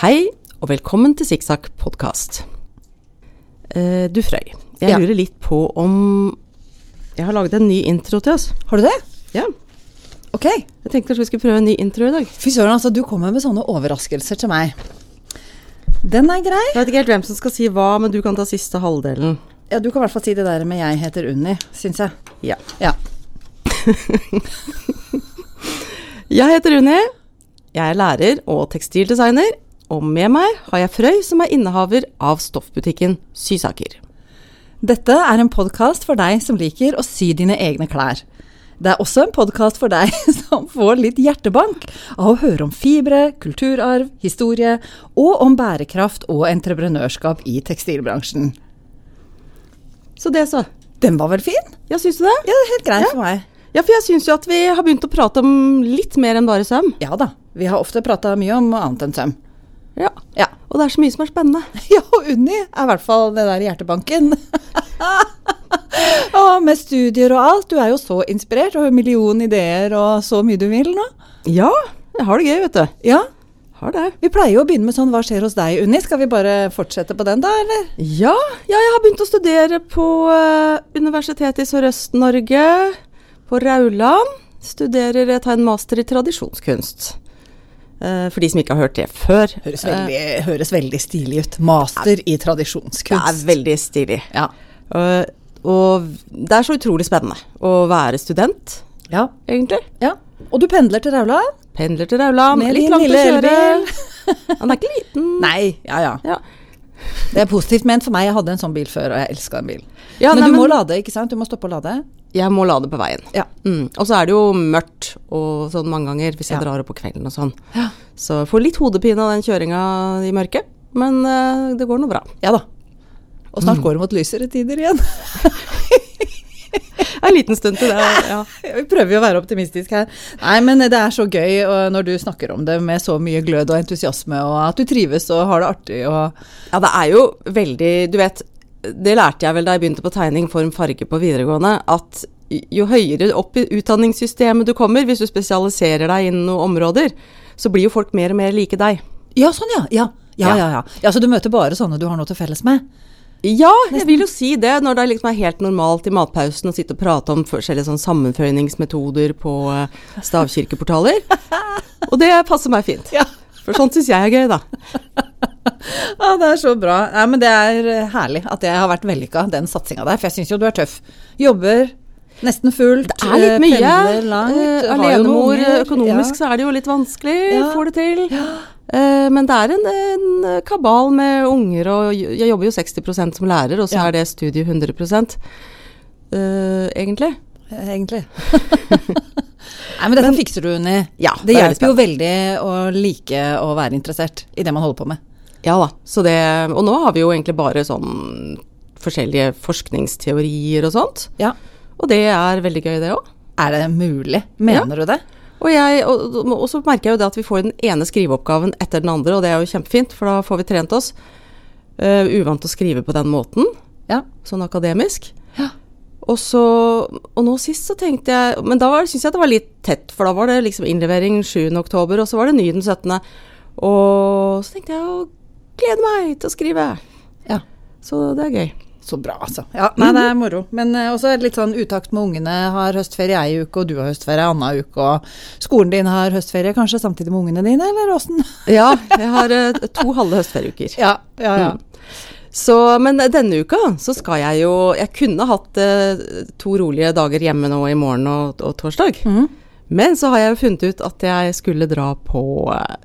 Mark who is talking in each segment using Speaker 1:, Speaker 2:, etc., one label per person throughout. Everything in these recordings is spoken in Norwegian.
Speaker 1: og velkommen til Sikksakk podkast. Eh, du Frøy, jeg
Speaker 2: Ja.
Speaker 1: lurer litt på om Jeg har laget en ny intro til oss.
Speaker 2: Har du det?
Speaker 1: Ja,
Speaker 2: Ok.
Speaker 1: jeg tenkte kanskje vi skulle prøve en ny intro i dag.
Speaker 2: Fy søren, altså, du kommer med sånne overraskelser til meg. Den er grei.
Speaker 1: Jeg vet ikke helt hvem som skal si hva, men du kan ta siste halvdelen.
Speaker 2: Ja, du kan i hvert fall si det der med 'jeg heter Unni', syns jeg.
Speaker 1: Ja.
Speaker 2: Ja.
Speaker 1: Jeg heter Unni. Jeg er lærer og tekstildesigner. Og med meg har jeg Frøy, som er innehaver av stoffbutikken Sysaker.
Speaker 2: Dette er en podkast for deg som liker å sy dine egne klær. Det er også en podkast for deg som får litt hjertebank av å høre om fibre, kulturarv, historie og om bærekraft og entreprenørskap i tekstilbransjen.
Speaker 1: Så det, så.
Speaker 2: Den var vel fin?
Speaker 1: Ja, syns du det?
Speaker 2: Ja, helt grei for meg.
Speaker 1: Ja, for jeg syns jo at vi har begynt å prate om litt mer enn bare søm.
Speaker 2: Ja da. Vi har ofte prata mye om annet enn søm.
Speaker 1: Ja.
Speaker 2: Ja.
Speaker 1: Og det er så mye som er spennende.
Speaker 2: Ja, og Unni er i hvert fall den der hjertebanken. og med studier og alt. Du er jo så inspirert og har en million ideer og så mye du vil nå.
Speaker 1: Ja, jeg har det gøy, vet du.
Speaker 2: Ja,
Speaker 1: Har det.
Speaker 2: Vi pleier jo å begynne med sånn 'Hva skjer hos deg, Unni?' Skal vi bare fortsette på den, da? eller?
Speaker 1: Ja, ja, jeg har begynt å studere på eh, Universitetet i Sørøst-Norge, på Rauland. Studerer, jeg tar en master i tradisjonskunst. Eh, For de som ikke har hørt det før.
Speaker 2: Høres
Speaker 1: eh,
Speaker 2: veldig, høres veldig stilig ut. Master i
Speaker 1: Det er
Speaker 2: tradisjonskunst.
Speaker 1: veldig stilig.
Speaker 2: Ja.
Speaker 1: Eh, Og det er så utrolig spennende å være student,
Speaker 2: Ja.
Speaker 1: egentlig.
Speaker 2: ja. Og du pendler til Raula?
Speaker 1: Pendler til Rauland.
Speaker 2: Med
Speaker 1: Litt
Speaker 2: din
Speaker 1: langt å
Speaker 2: lille
Speaker 1: kjøre.
Speaker 2: elbil.
Speaker 1: Han er ikke liten.
Speaker 2: Nei, ja ja.
Speaker 1: Ja.
Speaker 2: Det er positivt ment for meg. Jeg hadde en sånn bil før, og jeg elska en bil.
Speaker 1: Ja,
Speaker 2: men
Speaker 1: nei,
Speaker 2: du må
Speaker 1: men-
Speaker 2: lade, ikke sant? Du må stoppe å lade.
Speaker 1: Jeg må lade på veien.
Speaker 2: Ja.
Speaker 1: Mm. Og så er det jo mørkt og sånn mange ganger hvis jeg
Speaker 2: Ja.
Speaker 1: drar opp på kvelden og sånn. Så jeg får litt hodepine av den kjøringa i mørket, men eh, det går nå bra.
Speaker 2: Ja da. Og snart går det mot lysere tider igjen.
Speaker 1: En liten stund til det. Ja.
Speaker 2: Vi prøver jo å være optimistiske her. Nei, men det er så gøy og når du snakker om det med så mye glød og entusiasme, og at du trives og har det artig og
Speaker 1: ja, det er jo veldig Du vet, det lærte jeg vel da jeg begynte på tegning, form, farge på videregående, at jo høyere opp i utdanningssystemet du kommer, hvis du spesialiserer deg innen noen områder, så blir jo folk mer og mer like deg.
Speaker 2: Ja, sånn ja. Ja, ja,
Speaker 1: Ja.
Speaker 2: ja. ja. ja så du møter bare sånne du har noe til felles med?
Speaker 1: Ja, jeg vil jo si det. Når det liksom er helt normalt i matpausen å sitte og prate om forskjellige sånn sammenføyningsmetoder på eh, stavkirkeportaler. Og det passer meg fint.
Speaker 2: Ja.
Speaker 1: For sånt syns jeg er gøy, da.
Speaker 2: Ja, det er så bra. Nei, men det er eh, herlig at jeg har vært vellykka, den satsinga der. For jeg syns jo du er tøff. Jobber nesten fullt.
Speaker 1: Det er litt
Speaker 2: eh,
Speaker 1: mye.
Speaker 2: Pendler langt.
Speaker 1: Eh,
Speaker 2: har jo noen
Speaker 1: Alenemor eh,
Speaker 2: unger.
Speaker 1: økonomisk,
Speaker 2: Ja.
Speaker 1: så er det jo litt vanskelig.
Speaker 2: Ja.
Speaker 1: Får det til. Eh, Men det er en, en kabal med unger, og j- jeg jobber jo 60 som lærer, og så
Speaker 2: Ja.
Speaker 1: er det studiet 100 eh, egentlig.
Speaker 2: Egentlig. Nei, men dette fikser du, Unni.
Speaker 1: Ja, det
Speaker 2: det
Speaker 1: er veldig
Speaker 2: hjelper jo veldig å like å være interessert i det man holder på med.
Speaker 1: Ja da. Så det, og nå har vi jo egentlig bare sånn forskjellige forskningsteorier og sånt.
Speaker 2: Ja.
Speaker 1: Og det er veldig gøy, det òg.
Speaker 2: Er det mulig? Mener du det?
Speaker 1: Og, jeg- og, og så merker jeg jo det at vi får den ene skriveoppgaven etter den andre, og det er jo kjempefint, for da får vi trent oss. Eh, uvant å skrive på den måten,
Speaker 2: Ja.
Speaker 1: sånn akademisk.
Speaker 2: Ja.
Speaker 1: Og så Og nå sist så tenkte jeg Men da var- syns jeg det var litt tett, for da var det liksom innlevering 7. oktober, og så var det ny den 17. Og så tenkte jeg å glede meg til å skrive.
Speaker 2: ja.
Speaker 1: Så det er gøy.
Speaker 2: Så bra, altså. Ja, nei, det er moro. Men eh, også er det litt sånn utakt med ungene. Har høstferie ei uke, og du har høstferie anna uke. Og skolen din har høstferie kanskje samtidig med ungene dine, eller åssen?
Speaker 1: Ja, jeg har eh, to halve høstferieuker. Mm.
Speaker 2: Ja, ja, ja.
Speaker 1: Så, men denne uka så skal jeg jo Jeg kunne hatt eh, to rolige dager hjemme nå i morgen og, og torsdag.
Speaker 2: Mm.
Speaker 1: Men så har jeg jo funnet ut at jeg skulle dra på eh,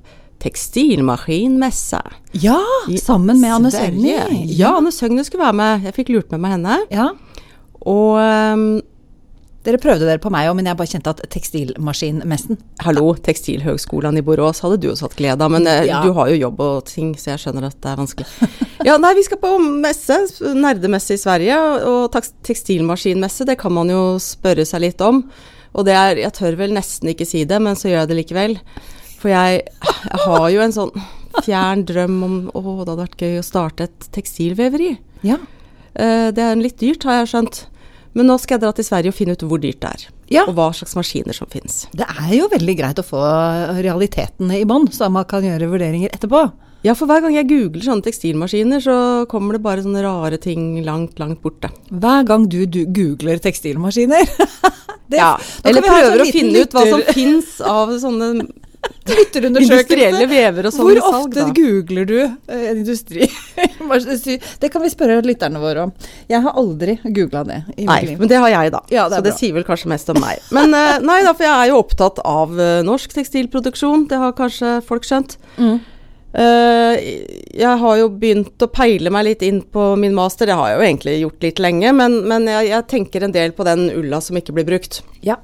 Speaker 1: tekstilmaskinmesse.
Speaker 2: Ja,
Speaker 1: i
Speaker 2: sammen med Anne
Speaker 1: Sverige.
Speaker 2: Søgni.
Speaker 1: Ja, Anne Søgne skulle være med. Jeg fikk lurt med meg henne.
Speaker 2: ja.
Speaker 1: Og ehm,
Speaker 2: Dere prøvde dere på meg òg, men jeg bare kjente at tekstilmaskinmessen
Speaker 1: hallo, Tekstilhøgskolen i Borås hadde du også hatt glede av, men eh,
Speaker 2: Ja.
Speaker 1: du har jo jobb og ting, så jeg skjønner at det er vanskelig. Ja, nei, vi skal på messe, nerdemesse i Sverige, og taks- tekstilmaskinmesse, det kan man jo spørre seg litt om. Og det er, jeg tør vel nesten ikke si det, men så gjør jeg det likevel. For jeg, jeg har jo en sånn fjern drøm om, å, det hadde vært gøy å starte et tekstilveveri.
Speaker 2: Ja.
Speaker 1: Eh, Det er litt dyrt, har jeg skjønt. Men nå skal jeg dra til Sverige og finne ut hvor dyrt det er,
Speaker 2: Ja.
Speaker 1: og hva slags maskiner som finnes.
Speaker 2: Det er jo veldig greit å få realitetene i bånn, så man kan gjøre vurderinger etterpå.
Speaker 1: Ja, for hver gang jeg googler sånne tekstilmaskiner, så kommer det bare sånne rare ting langt, langt borte.
Speaker 2: Hver gang du, du googler tekstilmaskiner det,
Speaker 1: Ja.
Speaker 2: da kan
Speaker 1: Eller
Speaker 2: vi ha en
Speaker 1: prøver
Speaker 2: sånn
Speaker 1: å
Speaker 2: liten
Speaker 1: finne ut hva som
Speaker 2: lytter-
Speaker 1: fins av sånne
Speaker 2: lytterundersøkelse.
Speaker 1: industrielle vever og sånn
Speaker 2: Hvor
Speaker 1: i salg,
Speaker 2: ofte
Speaker 1: da.
Speaker 2: googler du eh, industri? det kan vi spørre lytterne våre om. Jeg har aldri googla det. i mitt
Speaker 1: Nei,
Speaker 2: liv.
Speaker 1: men det har jeg, da.
Speaker 2: Ja, det er
Speaker 1: så det
Speaker 2: bra.
Speaker 1: sier vel kanskje mest om meg. Men eh, nei da, for jeg er jo opptatt av eh, norsk tekstilproduksjon. Det har kanskje folk skjønt.
Speaker 2: Mm.
Speaker 1: Eh, jeg har jo begynt å peile meg litt inn på min master, det har jeg jo egentlig gjort litt lenge, men, men jeg, jeg tenker en del på den ulla som ikke blir brukt.
Speaker 2: Ja.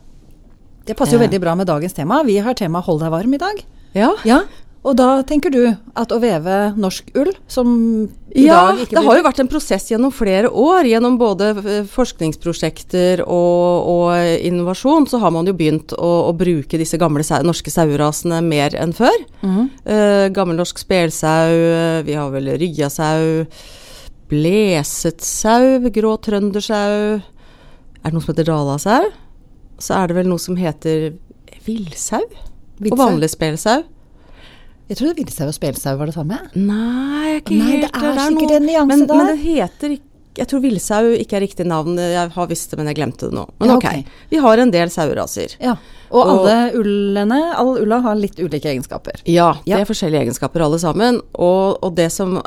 Speaker 2: Det passer jo
Speaker 1: Eh.
Speaker 2: veldig bra med dagens tema. Vi har tema 'hold deg varm' i dag.
Speaker 1: Ja,
Speaker 2: Ja, Og da tenker du at å veve norsk ull, som i
Speaker 1: Ja,
Speaker 2: dag ikke
Speaker 1: det har
Speaker 2: blir
Speaker 1: jo vært en prosess gjennom flere år. Gjennom både eh, forskningsprosjekter og, og innovasjon så har man jo begynt å, å bruke disse gamle sau, norske sauerasene mer enn før.
Speaker 2: Mhm.
Speaker 1: Eh, gammelnorsk spelsau, eh, vi har vel ryggasau, bleset sau, grå trøndersau. Er det noe som heter dalasau? Så er det vel noe som heter villsau? Og
Speaker 2: Villsau?
Speaker 1: vanlig spelsau.
Speaker 2: Jeg trodde villsau og spelsau var det samme.
Speaker 1: Nei, jeg er ikke
Speaker 2: Nei, det
Speaker 1: helt
Speaker 2: er
Speaker 1: der.
Speaker 2: sikkert
Speaker 1: noe-
Speaker 2: en nyanse
Speaker 1: men,
Speaker 2: der.
Speaker 1: Men det heter ikke Jeg tror villsau ikke er riktig navn. Jeg har visst det, men jeg glemte det nå. Men
Speaker 2: Ja,
Speaker 1: ok.
Speaker 2: ok.
Speaker 1: Vi har en del saueraser.
Speaker 2: Ja. Og,
Speaker 1: Og-
Speaker 2: alle ullene, all ulla har litt ulike egenskaper.
Speaker 1: Ja, det
Speaker 2: Ja.
Speaker 1: er forskjellige egenskaper alle sammen. Og, og det som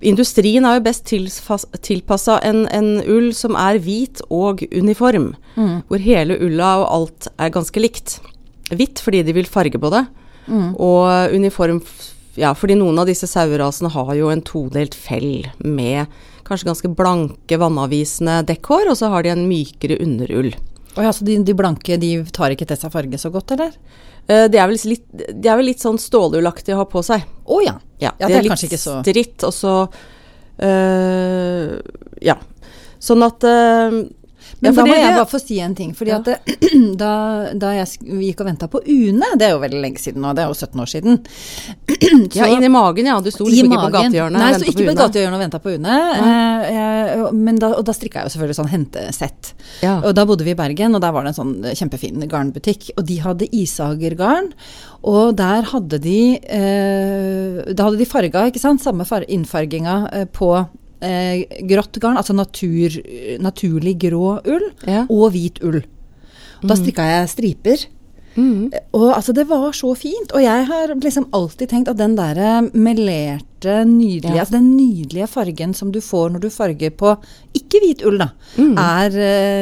Speaker 1: Industrien er jo best tilpassa en, en ull som er hvit og uniform. Hvor hele ulla og alt er ganske likt. Hvitt fordi de vil farge på det, og uniform f- ja, fordi noen av disse sauerasene har jo en todelt fell med kanskje ganske blanke, vannavvisende dekkhår, og så har de en mykere underull.
Speaker 2: Og ja, så de, de blanke de tar ikke til seg farge så godt, eller?
Speaker 1: Eh, Det er vel litt, det er vel litt sånn stålullaktig å ha på seg.
Speaker 2: Å ja.
Speaker 1: Ja,
Speaker 2: Ja,
Speaker 1: det er,
Speaker 2: kanskje
Speaker 1: litt
Speaker 2: ikke så
Speaker 1: stritt, og så øh, Ja. Sånn at øh, ja,
Speaker 2: Men da
Speaker 1: fordi
Speaker 2: må jeg
Speaker 1: det-
Speaker 2: bare få si en ting. fordi
Speaker 1: Ja.
Speaker 2: at det, da, da jeg sk- gikk og venta på UNE, det er jo veldig lenge siden nå, det er jo 17 år siden
Speaker 1: Ja, inn i magen, ja. Du sto liksom ikke på gatehjørnet
Speaker 2: Nei,
Speaker 1: og
Speaker 2: så
Speaker 1: ventet
Speaker 2: ikke på
Speaker 1: UNE.
Speaker 2: gatehjørnet og venta på UNE. Eh, eh, men da, og da strikka jeg jo selvfølgelig sånn hentesett.
Speaker 1: Ja.
Speaker 2: Og da bodde vi i Bergen, og der var det en sånn eh, kjempefin garnbutikk. Og de hadde isagergarn, og der hadde de eh, Da hadde de farga, ikke sant, samme far innfarginga eh, på eh, grått garn, altså natur, naturlig grå ull,
Speaker 1: Ja.
Speaker 2: og hvit ull. Og
Speaker 1: Mm.
Speaker 2: da strikka jeg striper.
Speaker 1: Mhm.
Speaker 2: Og altså, det var så fint. Og jeg har liksom alltid tenkt at den derre melerte, nydelige
Speaker 1: Ja.
Speaker 2: Altså den nydelige fargen som du får når du farger på ikke hvit ull, da, er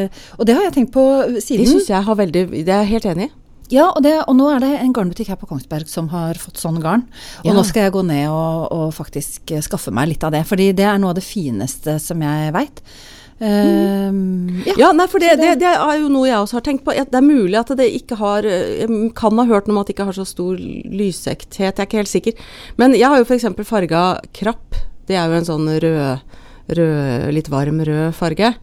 Speaker 2: eh, Og det har jeg tenkt på
Speaker 1: Det
Speaker 2: siden.
Speaker 1: syns Mm. jeg har veldig Det er jeg helt enig i.
Speaker 2: Ja, og, det, og nå er det en garnbutikk her på Kongsberg som har fått sånn garn. Og
Speaker 1: Ja.
Speaker 2: nå skal jeg gå ned og, og faktisk eh, skaffe meg litt av det. Fordi det er noe av det fineste som jeg veit.
Speaker 1: Mm.
Speaker 2: ja.
Speaker 1: Ja, nei, for det, det, det er jo noe jeg også har tenkt på. at Det er mulig at det ikke har eh, Jeg kan ha hørt noe om at det ikke har så stor lysekthet, jeg er ikke helt sikker. Men jeg har jo f.eks. farga krapp. Det er jo en sånn rød, rød, litt varm rød farge.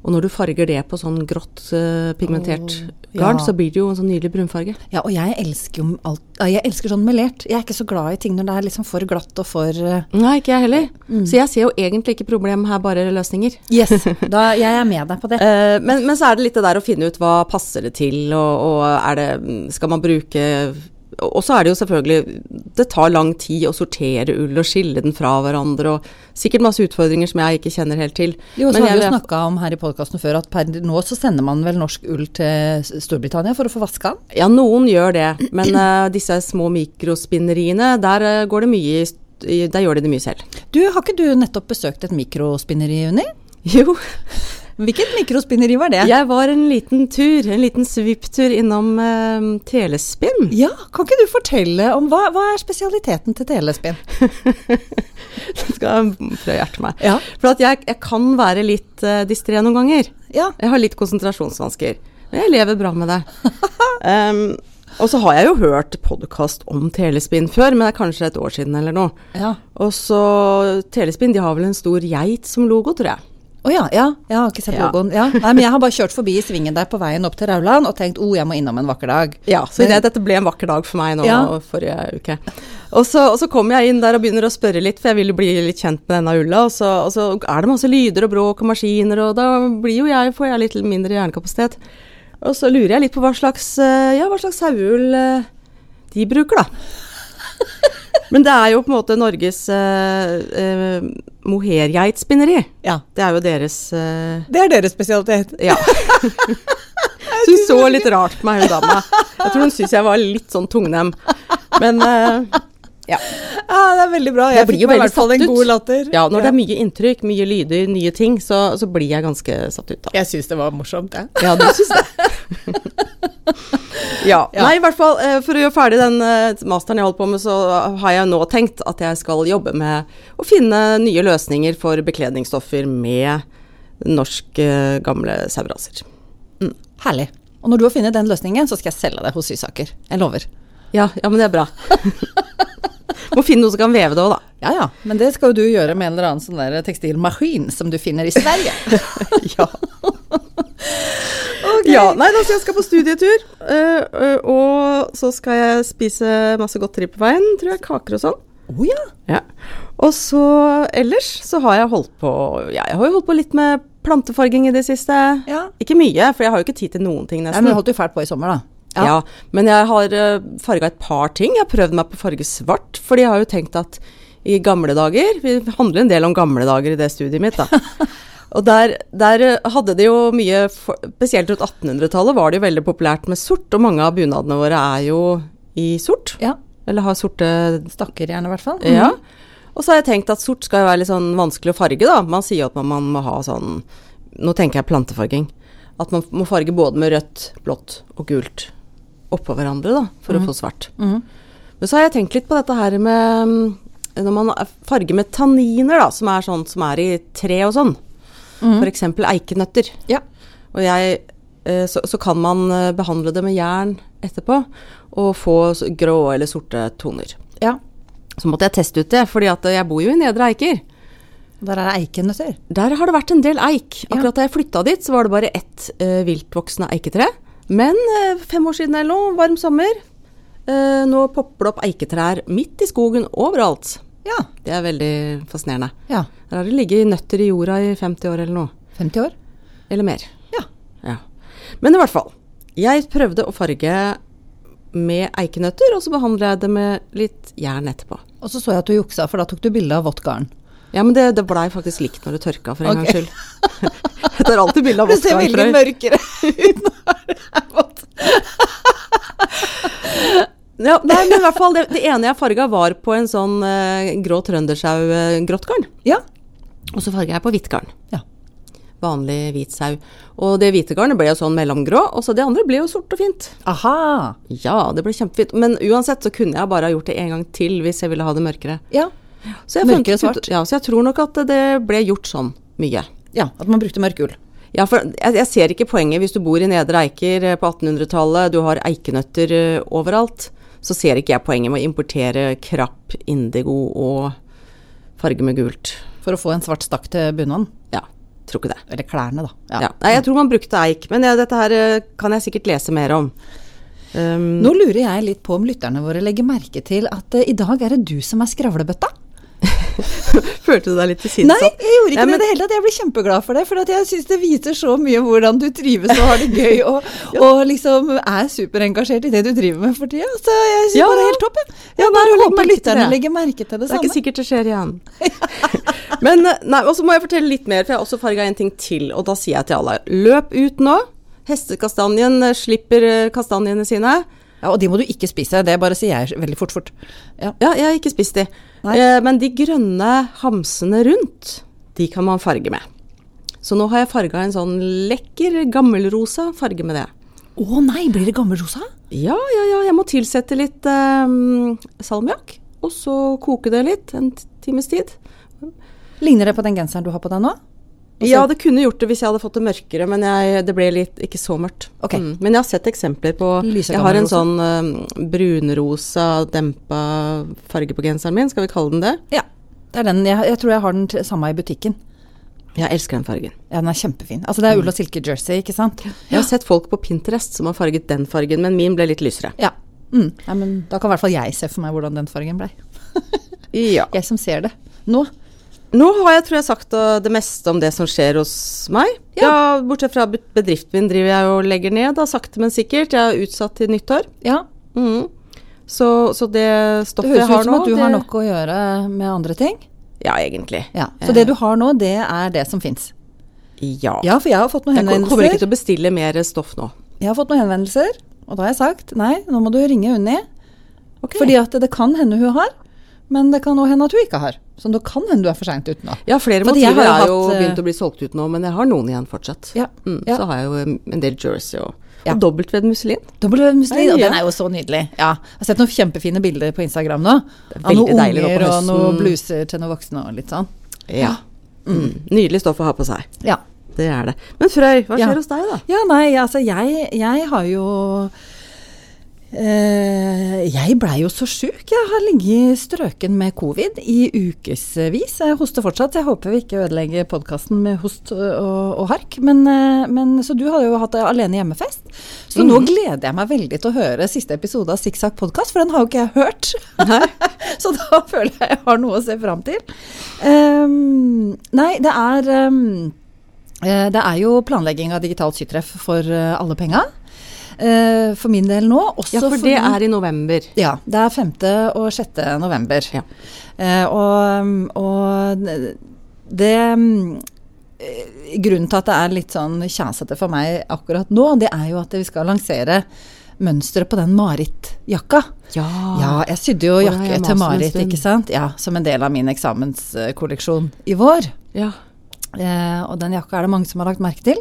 Speaker 1: Og når du farger det på sånn grått, eh, pigmentert
Speaker 2: Åh,
Speaker 1: garn,
Speaker 2: ja.
Speaker 1: så blir det jo en sånn nydelig brunfarge.
Speaker 2: Ja, og jeg elsker jo alt ja, Jeg elsker sånn melert. Jeg er ikke så glad i ting når det er liksom for glatt og for eh,
Speaker 1: Nei, ikke jeg heller. Så jeg ser jo egentlig ikke problemet her, bare løsninger.
Speaker 2: Yes, da, jeg er med deg på det.
Speaker 1: Eh, men, men så er det litt det der å finne ut hva passer det til, og, og er det, skal man bruke og og så er det jo selvfølgelig Det tar lang tid å sortere ull og skille den fra hverandre, og sikkert masse utfordringer som jeg ikke kjenner helt til.
Speaker 2: Jo, så
Speaker 1: Men
Speaker 2: har vi jo
Speaker 1: jeg-
Speaker 2: snakka om her i podkasten før at per nå så sender man vel norsk ull til S- Storbritannia for å få vaska den.
Speaker 1: Ja, noen gjør det, men eh, disse små mikrospinneriene, der eh, går det mye i st- i Der gjør de det mye selv.
Speaker 2: Du, har ikke du nettopp besøkt et mikrospinneri, Unni?
Speaker 1: Jo.
Speaker 2: Hvilket mikrospinneri var det?
Speaker 1: Jeg var en liten tur, en liten svipptur innom eh, Telespinn.
Speaker 2: Ja, kan ikke du fortelle om hva, hva er spesialiteten til telespinn?
Speaker 1: Skal jeg prøve å hjerte meg.
Speaker 2: Ja.
Speaker 1: For at jeg, jeg kan være litt uh, distré noen ganger.
Speaker 2: Ja.
Speaker 1: Jeg har litt konsentrasjonsvansker. Men jeg lever bra med det. um, og så har jeg jo hørt podkast om telespinn før, men det er kanskje et år siden eller noe.
Speaker 2: Ja.
Speaker 1: Og så Telespinn, de har vel en stor geit som logo, tror jeg.
Speaker 2: Å ja, ja, jeg har ikke sett
Speaker 1: Ja.
Speaker 2: logoen. Ja. Nei, men jeg har bare kjørt forbi i svingen der på veien opp til Rauland og tenkt 'Å, oh, jeg må innom en vakker dag'.
Speaker 1: Ja, så det, dette ble en vakker dag for meg nå
Speaker 2: Ja.
Speaker 1: og forrige uke. Og så, og så kommer jeg inn der og begynner å spørre litt, for jeg vil jo bli litt kjent med denne ulla. Og så, og så er det masse lyder og bråk og maskiner, og da blir jo jeg, får jeg litt mindre hjernekapasitet. Og så lurer jeg litt på hva slags, eh, ja, hva slags saueull eh, de bruker, da. Men det er jo på en måte Norges eh, eh, mohairgeitspinneri.
Speaker 2: Ja.
Speaker 1: Det er jo deres eh,
Speaker 2: Det er deres spesialitet.
Speaker 1: Ja. Så hun så litt rart på meg, hun dama. Jeg tror hun syntes jeg var litt sånn tungnem. Men eh, ja.
Speaker 2: Ja, det er veldig bra.
Speaker 1: Jeg
Speaker 2: Jeg
Speaker 1: blir
Speaker 2: fikk
Speaker 1: jo
Speaker 2: meg i
Speaker 1: veldig
Speaker 2: hvert fall
Speaker 1: satt
Speaker 2: en
Speaker 1: ut.
Speaker 2: god latter.
Speaker 1: ja. Når det er mye inntrykk, mye lyder, nye ting, så, så blir jeg ganske satt ut av.
Speaker 2: Jeg syns det var morsomt, jeg.
Speaker 1: Ja, du syns det. ja.
Speaker 2: Ja.
Speaker 1: Nei, i hvert fall, eh, for å gjøre ferdig den eh, masteren jeg holdt på med, så har jeg nå tenkt at jeg skal jobbe med å finne nye løsninger for bekledningsstoffer med norsk eh, gamle saueraser.
Speaker 2: Herlig. Og når du har funnet den løsningen, så skal jeg selge det hos Sysaker. Jeg lover.
Speaker 1: Ja, ja, men det er bra. Må finne noe som kan veve det òg, da.
Speaker 2: Ja ja, men det skal jo du gjøre med en eller annen sånn der tekstilmaskin som du finner i Sverige.
Speaker 1: ja. ja. Nei, da, så jeg skal på studietur. eh, eh, og så skal jeg spise masse godteri på veien, tror jeg. Kaker og sånn.
Speaker 2: Å Oh, ja.
Speaker 1: Ja. Og så ellers så har jeg holdt på ja, Jeg har jo holdt på litt med plantefarging i det siste.
Speaker 2: Ja.
Speaker 1: Ikke mye, for jeg har jo ikke tid til noen ting,
Speaker 2: ja. Men
Speaker 1: nesten.
Speaker 2: du holdt jo fælt på i sommer, da.
Speaker 1: Ja. men jeg har farga et par ting. Jeg har prøvd meg på farge svart, fordi jeg har jo tenkt at i gamle dager Vi handler en del om gamle dager i det studiet mitt, da. Og der, der eh, hadde de jo mye for, Spesielt rundt 1800-tallet var det jo veldig populært med sort, og mange av bunadene våre er jo i sort.
Speaker 2: Ja.
Speaker 1: Eller har sorte
Speaker 2: Stakker gjerne, i hvert fall. Mm.
Speaker 1: ja. Og så har jeg tenkt at sort skal jo være litt sånn vanskelig å farge, da. Man sier jo at man, man må ha sånn Nå tenker jeg plantefarging. At man f- må farge både med rødt, blått og gult oppå hverandre, da, for å få svart. Men så har jeg tenkt litt på dette her med mm, Når man er- farger med tanniner, da, som er sånn som er i tre og sånn. For F.eks. eikenøtter.
Speaker 2: Ja.
Speaker 1: Og jeg, eh, så, så kan man eh, behandle det med jern etterpå og få s- grå eller sorte toner.
Speaker 2: ja.
Speaker 1: Så måtte jeg teste ut det, fordi at jeg bor jo i Nedre Eiker.
Speaker 2: Der er det eikenøtter.
Speaker 1: Der har det vært en del eik. Akkurat da jeg flytta dit, så var det bare ett eh, viltvoksende eiketre. Men eh, fem år siden eller noe, varm sommer, eh, nå popper det opp eiketrær midt i skogen overalt.
Speaker 2: Ja.
Speaker 1: Det er veldig fascinerende.
Speaker 2: ja.
Speaker 1: Der har det ligget nøtter i jorda i 50 år eller noe.
Speaker 2: 50 år.
Speaker 1: Eller mer.
Speaker 2: Ja.
Speaker 1: Ja. Men i hvert fall. Jeg prøvde å farge med eikenøtter, og så behandla jeg det med litt jern etterpå.
Speaker 2: Og så så jeg at du juksa, for da tok du bilde av våttgarn.
Speaker 1: Ja, men det, det blei faktisk likt når det tørka, for en
Speaker 2: Ok.
Speaker 1: gangs skyld. Jeg tar alltid bilde av Oskar. Frøy.
Speaker 2: mørkere ut når det er vått.
Speaker 1: Ja, nei, men i hvert fall, det, det ene jeg farga, var på en sånn eh, grå trøndersau-grått garn.
Speaker 2: Ja.
Speaker 1: Og så farga jeg på hvitt garn.
Speaker 2: ja.
Speaker 1: Vanlig hvit sau. Og det hvite garnet ble jo sånn mellomgrå, og så det andre ble jo sort og fint.
Speaker 2: Aha.
Speaker 1: Ja, det ble kjempefint. Men uansett så kunne jeg bare ha gjort det en gang til hvis jeg ville ha det mørkere.
Speaker 2: Ja.
Speaker 1: Så jeg,
Speaker 2: Mørkere
Speaker 1: fant ut-
Speaker 2: svart.
Speaker 1: Ja, så jeg tror nok at det ble gjort sånn mye.
Speaker 2: ja. At man brukte mørk ull.
Speaker 1: Ja, for jeg, jeg ser ikke poenget hvis du bor i Nedre Eiker eh, på 1800-tallet, du har eikenøtter eh, overalt. Så ser ikke jeg poenget med å importere krapp, indigo og farge med gult.
Speaker 2: For å få en svart stakk til bunaden.
Speaker 1: Ja, tror ikke det.
Speaker 2: Eller klærne, da.
Speaker 1: Ja. Nei, jeg tror man brukte eik, men ja, dette her eh, kan jeg sikkert lese mer om. Um,
Speaker 2: Nå lurer jeg litt på om lytterne våre legger merke til at eh, i dag er det du som er skravlebøtta.
Speaker 1: følte du deg litt
Speaker 2: Nei, jeg
Speaker 1: tilsidesatt?
Speaker 2: gjorde ikke
Speaker 1: Nei,
Speaker 2: det i
Speaker 1: men-
Speaker 2: det hele tatt. Jeg blir kjempeglad for det. For at jeg syns det viser så mye hvordan du trives og har det gøy, og, og liksom er superengasjert i det du driver med for tida. Så jeg syns
Speaker 1: Ja.
Speaker 2: bare det er helt topp, jeg. Jeg
Speaker 1: Ja, nei,
Speaker 2: bare
Speaker 1: jeg legger merke
Speaker 2: håper
Speaker 1: til
Speaker 2: lytterne
Speaker 1: det.
Speaker 2: legger merke til det
Speaker 1: Det er
Speaker 2: samme.
Speaker 1: ikke sikkert det skjer igjen. Men, eh, nei, Og så må jeg fortelle litt mer, for jeg har også farga en ting til. Og da sier jeg til alle løp ut nå. Hestekastanjen eh, slipper eh, kastanjene sine.
Speaker 2: Ja, og de må du ikke spise. Det bare sier jeg veldig fort, fort. Ja.
Speaker 1: Ja, jeg har ikke spist de.
Speaker 2: Nei.
Speaker 1: Eh, Men de grønne hamsene rundt, de kan man farge med. Så nå har jeg farga en sånn lekker gammelrosa farge med det.
Speaker 2: Å nei, blir det gammelrosa?
Speaker 1: Ja, ja, ja, jeg må tilsette litt eh, salmiakk. Og så koke det litt, en t- times tid.
Speaker 2: Ligner det på den genseren du har på deg nå?
Speaker 1: Ja, det kunne gjort det hvis jeg hadde fått det mørkere, men jeg, det ble litt, ikke så mørkt. Mm.
Speaker 2: Ok.
Speaker 1: Men jeg har sett eksempler på
Speaker 2: Lysegammel
Speaker 1: Jeg har en
Speaker 2: rosa.
Speaker 1: sånn eh, brunrosa, dempa farge på genseren min, skal vi kalle den det?
Speaker 2: Ja. Det er den. Jeg, jeg tror jeg har den t- samme i butikken.
Speaker 1: Jeg elsker den fargen.
Speaker 2: Ja, den er kjempefin. Altså, det er ull og silke jersey, ikke sant?
Speaker 1: Jeg har sett folk på Pinterest som har farget den fargen, men min ble litt lysere.
Speaker 2: Ja. Mm. Nei, men da kan i hvert fall jeg se for meg hvordan den fargen blei.
Speaker 1: Ja.
Speaker 2: Jeg som ser det nå.
Speaker 1: Nå har jeg, tror jeg, sagt eh, det meste om det som skjer hos meg. Ja, Bortsett fra bet- bedriften min driver jeg og legger ned, da, sakte, men sikkert. Jeg er utsatt til nyttår.
Speaker 2: Ja.
Speaker 1: Mhm. Så, så det
Speaker 2: Det
Speaker 1: stoffet jeg
Speaker 2: høres ut
Speaker 1: har
Speaker 2: som
Speaker 1: nå
Speaker 2: at du
Speaker 1: det,
Speaker 2: har nok å gjøre med andre ting.
Speaker 1: Ja, egentlig.
Speaker 2: Ja. Så det du har nå, det er det som fins.
Speaker 1: Ja.
Speaker 2: Ja, for jeg har fått noen
Speaker 1: Jeg kom- kommer ikke
Speaker 2: henvendelser.
Speaker 1: til å bestille mer stoff nå.
Speaker 2: Jeg har fått noen henvendelser, og da har jeg sagt nei, nå må du ringe Unni. Fordi at det kan hende hun har, men det kan òg hende at hun ikke har. Så det kan hende du er for seint ute nå.
Speaker 1: Ja, flere
Speaker 2: Fordi jeg
Speaker 1: motiver
Speaker 2: har
Speaker 1: er
Speaker 2: jo
Speaker 1: jo
Speaker 2: hatt, eh,
Speaker 1: begynt å bli solgt ut nå, men jeg har noen igjen fortsatt.
Speaker 2: Ja,
Speaker 1: Mm,
Speaker 2: ja.
Speaker 1: Så har jeg jo eh, en del jersey og,
Speaker 2: Ja.
Speaker 1: og dobbeltvevd musselin.
Speaker 2: Dobbeltvevd musselin,
Speaker 1: Nei,
Speaker 2: og
Speaker 1: ja.
Speaker 2: den er jo så nydelig. Ja, jeg har sett noen kjempefine bilder på Instagram nå.
Speaker 1: er
Speaker 2: Av noen
Speaker 1: veldig deilig nå på
Speaker 2: unger og noen
Speaker 1: høsten.
Speaker 2: bluser til noen voksne og litt sånn.
Speaker 1: Ja. Mm. Nydelig stoff å ha på seg.
Speaker 2: Ja.
Speaker 1: Det er det. Men Frøy, hva
Speaker 2: Ja.
Speaker 1: skjer hos deg, da?
Speaker 2: Ja, nei, altså jeg, jeg har jo eh, jeg blei jo så sjuk. Jeg har ligget strøken med covid i ukevis. Jeg hoster fortsatt. så Jeg håper vi ikke ødelegger podkasten med host og, og hark. Men, eh, men, så du har jo hatt eh, alene hjemmefest. Så nå gleder jeg meg veldig til å høre siste episode av Sikksakk podkast, for den har jo ikke jeg hørt. så da føler jeg jeg har noe å se fram til. Ehm, nei, det er ehm, Eh, Det er jo planlegging av digitalt sytreff for eh, alle penga. Eh, For min del nå. Også
Speaker 1: Ja, for det er i november.
Speaker 2: ja, det er 5. og 6. november.
Speaker 1: Ja.
Speaker 2: Eh, og, og det mm, eh, Grunnen til at det er litt sånn kjasete for meg akkurat nå, det er jo at vi skal lansere mønsteret på den Marit-jakka.
Speaker 1: Ja.
Speaker 2: Ja, jeg sydde jo
Speaker 1: Og det har Ah.
Speaker 2: jakke
Speaker 1: jeg mast
Speaker 2: til
Speaker 1: om en
Speaker 2: Marit,
Speaker 1: stund.
Speaker 2: ikke sant? Ja, Som en del av min eksamenskolleksjon i vår.
Speaker 1: Ja.
Speaker 2: Eh, og den jakka er det mange som har lagt merke til.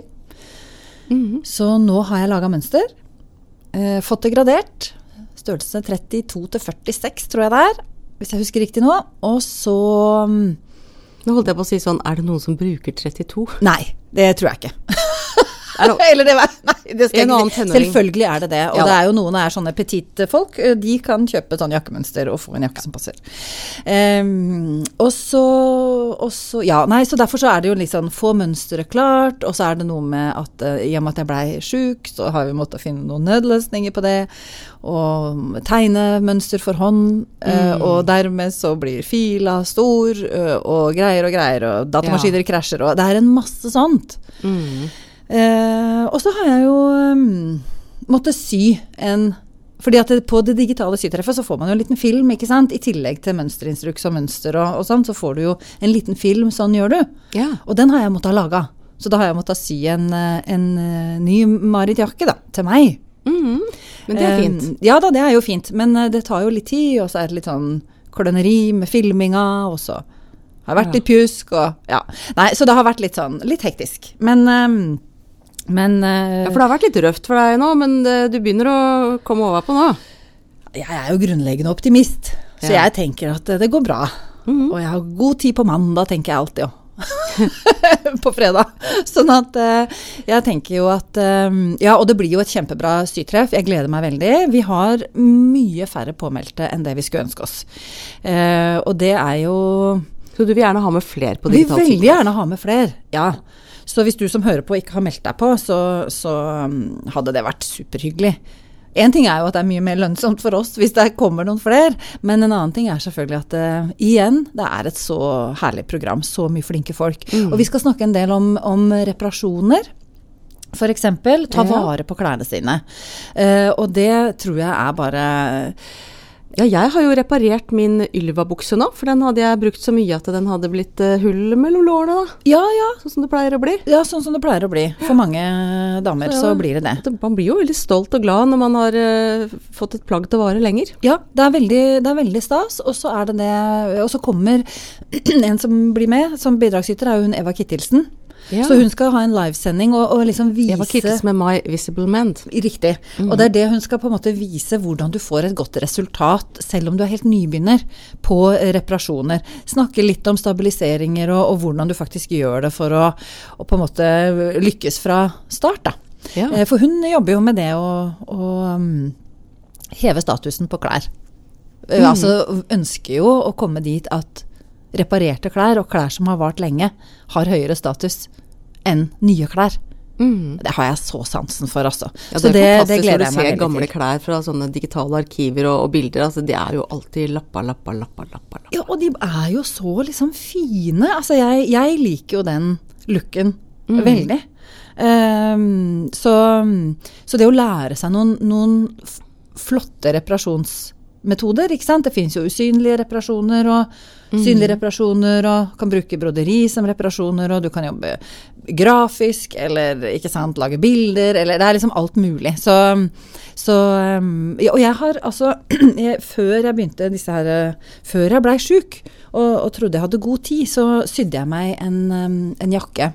Speaker 2: Så nå har jeg laga mønster. Eh, fått det gradert. Størrelse 32 til 46, tror jeg det er. Hvis jeg husker riktig nå. Og så mm,
Speaker 1: Nå holdt jeg på å si sånn, er det noen som bruker 32?
Speaker 2: Nei, det tror jeg ikke.
Speaker 1: Er det-
Speaker 2: Eller det var Nei, det
Speaker 1: En
Speaker 2: skal jeg
Speaker 1: annen
Speaker 2: ikke si.
Speaker 1: tenåring.
Speaker 2: Selvfølgelig er det det. Og
Speaker 1: Ja
Speaker 2: det
Speaker 1: da.
Speaker 2: er jo noen er sånne petite folk. eh, De kan kjøpe sånn jakkemønster og få en jakke som passer. Ehm, og så og så- Ja, nei, så derfor så er det jo liksom få mønstre klart, og så er det noe med at eh, i og med at jeg blei sjuk, så har vi måttet finne noen nødløsninger på det. Og tegne mønster for hånd, eh,
Speaker 1: Mm.
Speaker 2: og dermed så blir fila stor, eh, og greier og greier, og datamaskiner krasjer, og det er en masse sånt.
Speaker 1: Mm.
Speaker 2: Eh, og så har jeg jo um, måttet sy en fordi at det, på det digitale sytreffet så får man jo en liten film, ikke sant? I tillegg til mønsterinstruks og mønster og, og sånn, så får du jo en liten film, sånn gjør du.
Speaker 1: Ja.
Speaker 2: Og den har jeg måttet ha laga. Så da har jeg måttet sy en, eh, en eh, ny Marit-jakke, da, til meg.
Speaker 1: Mhm. Men det er fint.
Speaker 2: Eh, ja da, det er jo fint. Men eh, det tar jo litt tid, og så er det litt sånn kløneri med filminga, og så har det vært litt pjusk og Ja. Nei, så det har vært litt sånn litt hektisk. Men eh, Men eh,
Speaker 1: Ja, for det har vært litt røft for deg nå, men det, du begynner å komme overpå nå.
Speaker 2: jeg er jo grunnleggende optimist, så
Speaker 1: Ja.
Speaker 2: jeg tenker at eh, det går bra. Og jeg har god tid på mandag, tenker jeg alltid òg. på fredag. Sånn at eh, jeg tenker jo at eh, Ja, og det blir jo et kjempebra sytreff. Jeg gleder meg veldig. Vi har mye færre påmeldte enn det vi skulle ønske oss. Eh, og det er jo
Speaker 1: Så du vil gjerne ha med flere på
Speaker 2: vi
Speaker 1: digitalt
Speaker 2: vil veldig
Speaker 1: sykehus?
Speaker 2: gjerne ha med flere. Ja. Så hvis du som hører på ikke har meldt deg på, så, så um, hadde det vært superhyggelig. En ting er jo at det er mye mer lønnsomt for oss hvis det kommer noen flere, men en annen ting er selvfølgelig at eh, igjen, det er et så herlig program, så mye flinke folk. Og vi skal snakke en del om, om reparasjoner. For eksempel, ta
Speaker 1: Ja.
Speaker 2: vare på klærne sine. Eh, og det tror jeg er bare
Speaker 1: Ja, jeg har jo reparert min Ylva-bukse nå, for den hadde jeg brukt så mye at den hadde blitt eh, hull mellom lårene, da.
Speaker 2: Ja, ja.
Speaker 1: Sånn som det pleier å bli.
Speaker 2: Ja, sånn som det pleier å bli. For mange damer så blir det det.
Speaker 1: At Man blir jo veldig stolt og glad når man har eh, fått et plagg til å vare lenger.
Speaker 2: Ja, det er veldig, det er veldig stas. Og så, er det det, og så kommer en som blir med som bidragsyter, er jo hun Eva Kittilsen.
Speaker 1: Ja.
Speaker 2: Så hun skal ha en livesending og, og liksom vise
Speaker 1: Jeg var kikkes med My Visible Mend.
Speaker 2: Riktig. Og det er det hun skal på en måte vise hvordan du får et godt resultat, selv om du er helt nybegynner, på eh, reparasjoner. Snakke litt om stabiliseringer og, og hvordan du faktisk gjør det for å, å på en måte lykkes fra start, da.
Speaker 1: Ja.
Speaker 2: Eh, For hun jobber jo med det å, å um, heve statusen på klær. Eh,
Speaker 1: Mm.
Speaker 2: Altså ønsker jo å komme dit at reparerte klær og klær som har vart lenge, har høyere status enn nye klær. Det har jeg så sansen for, altså.
Speaker 1: Mm. Ja,
Speaker 2: så
Speaker 1: det
Speaker 2: det,
Speaker 1: er
Speaker 2: det
Speaker 1: fantastisk når
Speaker 2: gleder
Speaker 1: du
Speaker 2: jeg
Speaker 1: ser
Speaker 2: meg
Speaker 1: gamle
Speaker 2: veldig til.
Speaker 1: klær fra sånne digitale arkiver og, og bilder. Altså, de er jo alltid lappa, lappa, lappa, lappa. lappa.
Speaker 2: Ja, og de er jo så liksom fine. Altså, jeg, jeg liker jo den looken
Speaker 1: Mm.
Speaker 2: veldig. Ehm, så, så det å lære seg noen, noen f- flotte reparasjonsteknikker metoder. ikke sant? Det fins jo usynlige reparasjoner og synlige reparasjoner, og kan bruke broderi som reparasjoner, og du kan jobbe grafisk eller ikke sant, lage bilder, eller det er liksom alt mulig. Så, så um, ja, Og jeg har altså jeg, Før jeg begynte disse her eh, Før jeg blei sjuk og, og trodde jeg hadde god tid, så sydde jeg meg en, um, en jakke.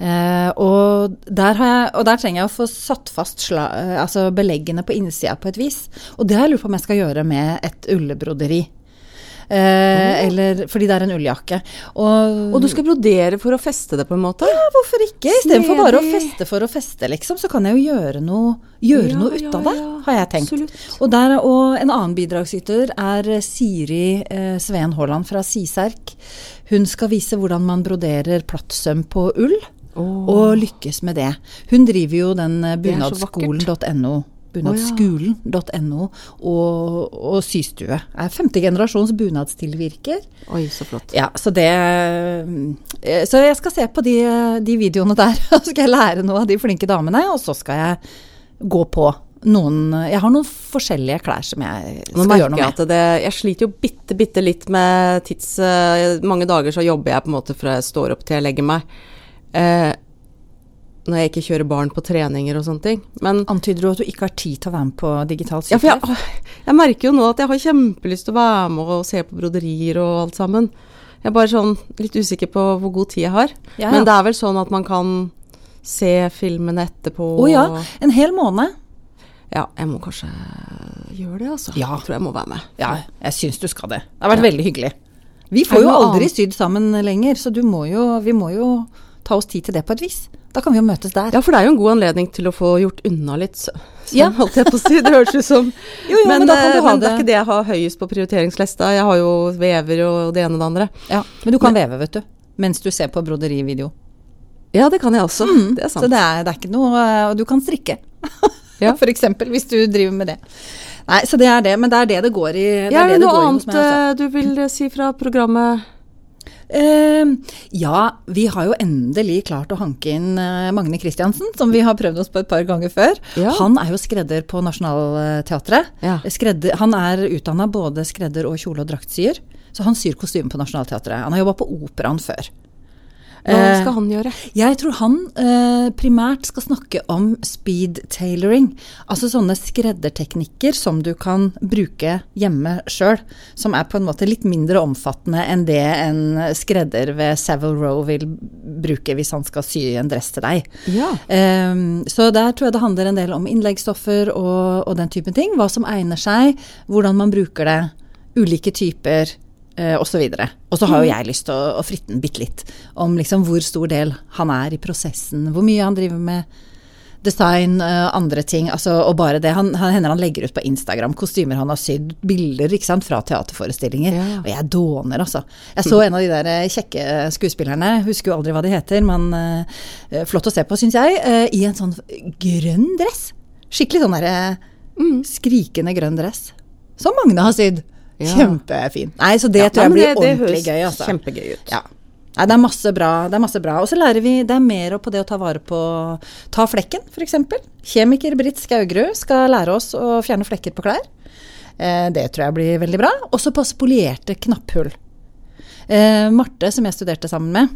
Speaker 2: Eh, og, der har jeg, og der trenger jeg å få satt fast sla, eh, altså beleggene på innsida på et vis. Og det har jeg lurt på om jeg skal gjøre med et ullbroderi. Eh, eller, fordi det er en ulljakke. Og,
Speaker 1: Og du skal brodere for å feste det, på en måte?
Speaker 2: ja, hvorfor ikke? Istedenfor bare å
Speaker 1: Snedig.
Speaker 2: feste for å feste, liksom, så kan jeg jo gjøre noe, gjøre
Speaker 1: Ja,
Speaker 2: noe
Speaker 1: ja,
Speaker 2: ut av det,
Speaker 1: ja.
Speaker 2: har jeg tenkt.
Speaker 1: Absolutt.
Speaker 2: Og, der, og en annen bidragsyter er eh, Siri eh, Sveen Haaland fra Siserk. Hun skal vise hvordan man broderer plattsøm på ull,
Speaker 1: Åh.
Speaker 2: og lykkes med det. Hun driver jo den eh,
Speaker 1: Det er så
Speaker 2: bunadskolen.no. Bunadskolen.no og, og systue. Er femte generasjons bunadstilvirker.
Speaker 1: Oi, så flott.
Speaker 2: Ja, så det eh, Så jeg skal se på de, de videoene der, og så skal jeg lære noe av de flinke damene, og så skal jeg gå på noen Jeg har noen forskjellige klær som jeg
Speaker 1: Nå
Speaker 2: skal
Speaker 1: merker
Speaker 2: gjøre noe
Speaker 1: jeg
Speaker 2: med.
Speaker 1: at det, jeg sliter jo bitte, bitte litt med tids... eh, mange dager så jobber jeg på en måte fra jeg står opp til jeg legger meg. Eh, når jeg ikke kjører barn på treninger og sånne ting. Men
Speaker 2: Antyder du at du ikke har tid til å være med på digital
Speaker 1: ja, for
Speaker 2: sykehus?
Speaker 1: jeg, jeg merker jo nå at jeg har kjempelyst til å være med og se på broderier og alt sammen. Jeg er bare sånn litt usikker på hvor god tid jeg har.
Speaker 2: Ja, ja.
Speaker 1: Men det er vel sånn at man kan se filmene etterpå.
Speaker 2: Å ja,
Speaker 1: og-
Speaker 2: en hel måned.
Speaker 1: Ja, jeg må kanskje gjøre det, altså.
Speaker 2: Ja.
Speaker 1: Jeg tror jeg må være med.
Speaker 2: Ja, jeg syns du skal det. Det har vært veldig hyggelig. Vi
Speaker 1: Er det
Speaker 2: får jo
Speaker 1: noe
Speaker 2: aldri
Speaker 1: annet?
Speaker 2: sydd sammen lenger, så du må jo, vi må jo ta oss tid til det på et vis. Da kan vi jo møtes der.
Speaker 1: Ja, for det er jo en god anledning til å få gjort unna litt sø- søvn,
Speaker 2: Ja.
Speaker 1: holdt jeg på å si. Det høres ut som
Speaker 2: Jo, jo, men da kan
Speaker 1: eh,
Speaker 2: du ha
Speaker 1: men det er
Speaker 2: det.
Speaker 1: ikke det jeg har høyest på prioriteringslista. Jeg har jo vever og det ene og det andre.
Speaker 2: Ja, men du kan veve, vet du. Mens du ser på broderivideo.
Speaker 1: Ja, det kan jeg også. Mm, Det er sant.
Speaker 2: Mm. Så det er, det er ikke noe eh, Og du kan strikke.
Speaker 1: Ja.
Speaker 2: For eksempel, hvis du driver med det. Nei, så det er det. Men det er det det går i. Det
Speaker 1: ja, er det,
Speaker 2: det
Speaker 1: noe
Speaker 2: går i hos
Speaker 1: annet
Speaker 2: meg, altså.
Speaker 1: eh, du vil eh, si fra programmet?
Speaker 2: Eh, ja, vi har jo endelig klart å hanke inn eh, Magne Christiansen, som vi har prøvd oss på et par ganger før.
Speaker 1: Ja.
Speaker 2: Han er jo skredder på Nationaltheatret. Eh,
Speaker 1: Ja.
Speaker 2: Skredder, han er utdanna både skredder og kjole- og draktsyer, så han syr kostyme på Nationaltheatret. Han har jobba på operaen før.
Speaker 1: Hva
Speaker 2: Eh,
Speaker 1: skal han gjøre?
Speaker 2: Jeg tror han eh, primært skal snakke om speed tailoring. Altså sånne skredderteknikker som du kan bruke hjemme sjøl. Som er på en måte litt mindre omfattende enn det en skredder ved Savile Row vil bruke hvis han skal sy en dress til deg.
Speaker 1: Ja.
Speaker 2: Ehm, så der tror jeg det handler en del om innleggsstoffer og, og den typen ting. Hva som egner seg, hvordan man bruker det, ulike typer eh, osv. Og så har jo jeg lyst til å, å fritte den bitte litt om liksom hvor stor del han er i prosessen, hvor mye han driver med design, eh, andre ting, altså, og bare det. Han, han hender han legger ut på Instagram kostymer han har sydd, bilder ikke sant, fra teaterforestillinger.
Speaker 1: Ja.
Speaker 2: Og jeg dåner, altså. Jeg så en av de der eh, kjekke skuespillerne, husker jo aldri hva de heter, men eh, flott å se på, syns jeg, eh, i en sånn grønn dress. Skikkelig sånn derre
Speaker 1: Mm.
Speaker 2: skrikende grønn dress. Som Magne har sydd.
Speaker 1: Ja.
Speaker 2: Kjempefin. Nei, så det
Speaker 1: Ja,
Speaker 2: tror jeg
Speaker 1: men
Speaker 2: blir
Speaker 1: det- det
Speaker 2: ordentlig
Speaker 1: høres
Speaker 2: gøy, altså.
Speaker 1: kjempegøy ut.
Speaker 2: Ja. Nei, det er masse bra. det er masse bra. Og så lærer vi det er mer på det å ta vare på Ta flekken, f.eks. Kjemiker Britt Skaugerud skal lære oss å fjerne flekker på klær. Eh, det tror jeg blir veldig bra. Også på spolierte knapphull. Eh, Marte, som jeg studerte sammen med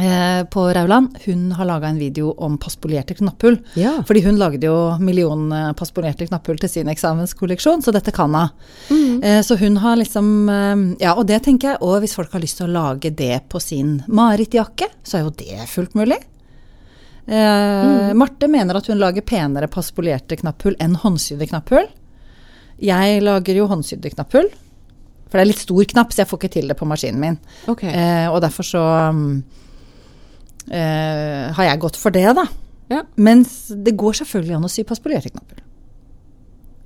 Speaker 2: eh, på Rauland, hun har laga en video om paspolerte knapphull.
Speaker 1: Ja.
Speaker 2: Fordi hun lagde jo million eh, paspolerte knapphull til sin eksamenskolleksjon, så dette kan hun.
Speaker 1: Mhm.
Speaker 2: Eh, Så hun har liksom eh, Ja, og det tenker jeg, og hvis folk har lyst til å lage det på sin Marit-jakke, så er jo det fullt mulig.
Speaker 1: Mhm.
Speaker 2: Eh, Marte mener at hun lager penere paspolerte knapphull enn håndsydde knapphull. Jeg lager jo håndsydde knapphull, for det er litt stor knapp, så jeg får ikke til det på maskinen min.
Speaker 1: Ok.
Speaker 2: Eh, og derfor så mm, eh, har jeg gått for det, da.
Speaker 1: Ja.
Speaker 2: Mens det går selvfølgelig an å sy paspolerte knapper.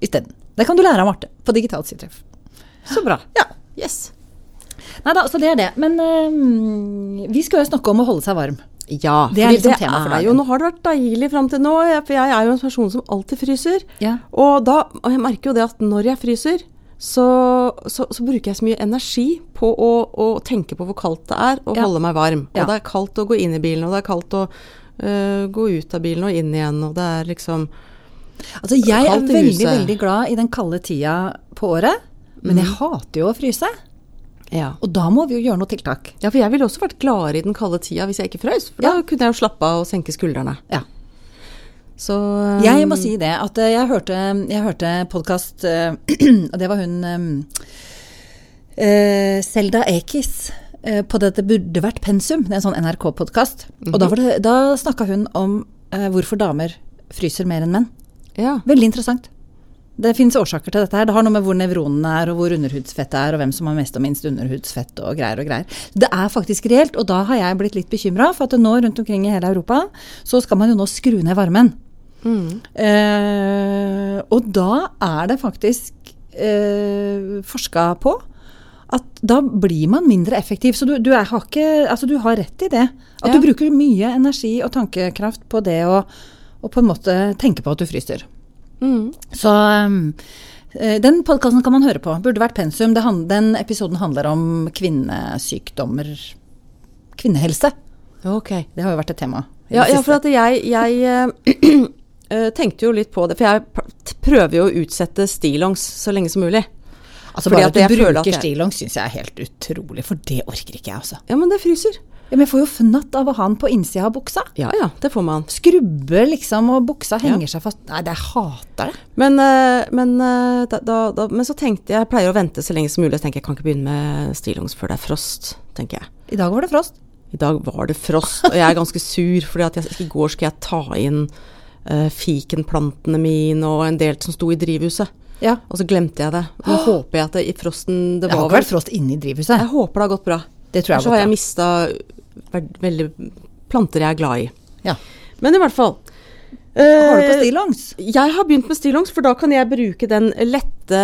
Speaker 2: Isteden. Det kan du lære av Marte på digitalt sitreff.
Speaker 1: Så bra.
Speaker 2: Ja.
Speaker 1: Yes.
Speaker 2: Nei da, så det er det. Men eh, vi skal jo snakke om å holde seg varm.
Speaker 1: Ja,
Speaker 2: Det er
Speaker 1: fordi
Speaker 2: liksom tema for
Speaker 1: er
Speaker 2: dagen.
Speaker 1: jo, nå har det vært deilig fram til nå, jeg- for jeg er jo en person som alltid fryser.
Speaker 2: Ja.
Speaker 1: Og, da, og jeg merker jo det at når jeg fryser, så, så, så bruker jeg så mye energi på å, å tenke på hvor kaldt det er, og
Speaker 2: Ja.
Speaker 1: holde meg varm.
Speaker 2: Ja.
Speaker 1: Og det er kaldt eh, å gå inn i bilen, og det er kaldt å øh, gå ut av bilen og inn igjen, og det er liksom
Speaker 2: Altså, jeg er
Speaker 1: Kaldt i
Speaker 2: veldig,
Speaker 1: huset.
Speaker 2: veldig glad i den kalde tida på året, men jeg hater jo å fryse.
Speaker 1: Ja.
Speaker 2: Mm. Og da må vi jo gjøre noe tiltak.
Speaker 1: ja, for jeg ville også vært gladere i den kalde tida hvis jeg ikke frøs, for da kunne jeg jo slappe av og senke skuldrene.
Speaker 2: Ja.
Speaker 1: Så eh,
Speaker 2: Jeg må si det, at eh, jeg hørte, jeg hørte podkast Og det var hun eh, eh, Selda Ekiz eh, på det at det burde vært pensum. Det er en sånn NRK-podkast. Og da, var det- da snakka hun om eh, hvorfor damer fryser mer enn menn.
Speaker 1: ja.
Speaker 2: Veldig interessant. Det finnes årsaker til dette her. Det har noe med hvor nevronene er, og hvor underhudsfettet er, og hvem som har mest og minst underhudsfett og greier og greier. Det er faktisk reelt, og da har jeg blitt litt bekymra, for at det nå rundt omkring i hele Europa så skal man jo nå skru ned varmen.
Speaker 1: Mm.
Speaker 2: Eh, og da er det faktisk eh, forska på at da blir man mindre effektiv. Så du, du, er, har, ikke, altså du har rett i det. At
Speaker 1: Ja.
Speaker 2: du bruker mye energi og tankekraft på det å og på en måte tenke på at du fryser.
Speaker 1: Mm.
Speaker 2: Så um, eh, den podkasten kan man høre på. Burde vært pensum. Det han- den episoden handler om kvinnesykdommer. Kvinnehelse.
Speaker 1: Ok.
Speaker 2: Det har jo vært et tema. i
Speaker 1: Ja,
Speaker 2: det
Speaker 1: ja,
Speaker 2: siste.
Speaker 1: for at jeg, jeg eh, eh, tenkte jo litt på det, for jeg pr- t- prøver jo å utsette stillongs så lenge som mulig.
Speaker 2: altså,
Speaker 1: fordi
Speaker 2: bare
Speaker 1: at
Speaker 2: at du
Speaker 1: jeg føler at
Speaker 2: bruker
Speaker 1: jeg-
Speaker 2: stillongs syns jeg er helt utrolig, for det orker ikke jeg, altså.
Speaker 1: Ja, men det fryser.
Speaker 2: Ja, men jeg får jo fnatt av å ha den på innsida av buksa.
Speaker 1: Ja ja, det får man.
Speaker 2: Skrubbe liksom, og buksa henger seg fast. Nei, det jeg hater det.
Speaker 1: Men, eh, men, eh, da, da, da, men så tenkte jeg, jeg pleier å vente så lenge som mulig, så tenker jeg kan ikke begynne med stillongs før det er frost, tenker jeg.
Speaker 2: I dag var det frost.
Speaker 1: I dag var det frost, og jeg er ganske sur, fordi at jeg, i går skulle jeg ta inn eh, fikenplantene mine og en del som sto i drivhuset.
Speaker 2: Ja.
Speaker 1: Og så glemte jeg det. Nå håper jeg at det, i frosten det
Speaker 2: Det har
Speaker 1: var
Speaker 2: ikke vært frost inne i drivhuset.
Speaker 1: Jeg håper det har gått bra.
Speaker 2: Det tror jeg
Speaker 1: Ellers så
Speaker 2: har
Speaker 1: har
Speaker 2: gått
Speaker 1: jeg mista veldig planter jeg er glad i.
Speaker 2: Ja.
Speaker 1: Men i hvert fall.
Speaker 2: Har du på
Speaker 1: Eh,
Speaker 2: stillongs?
Speaker 1: Jeg har begynt med stillongs, for da kan jeg bruke den lette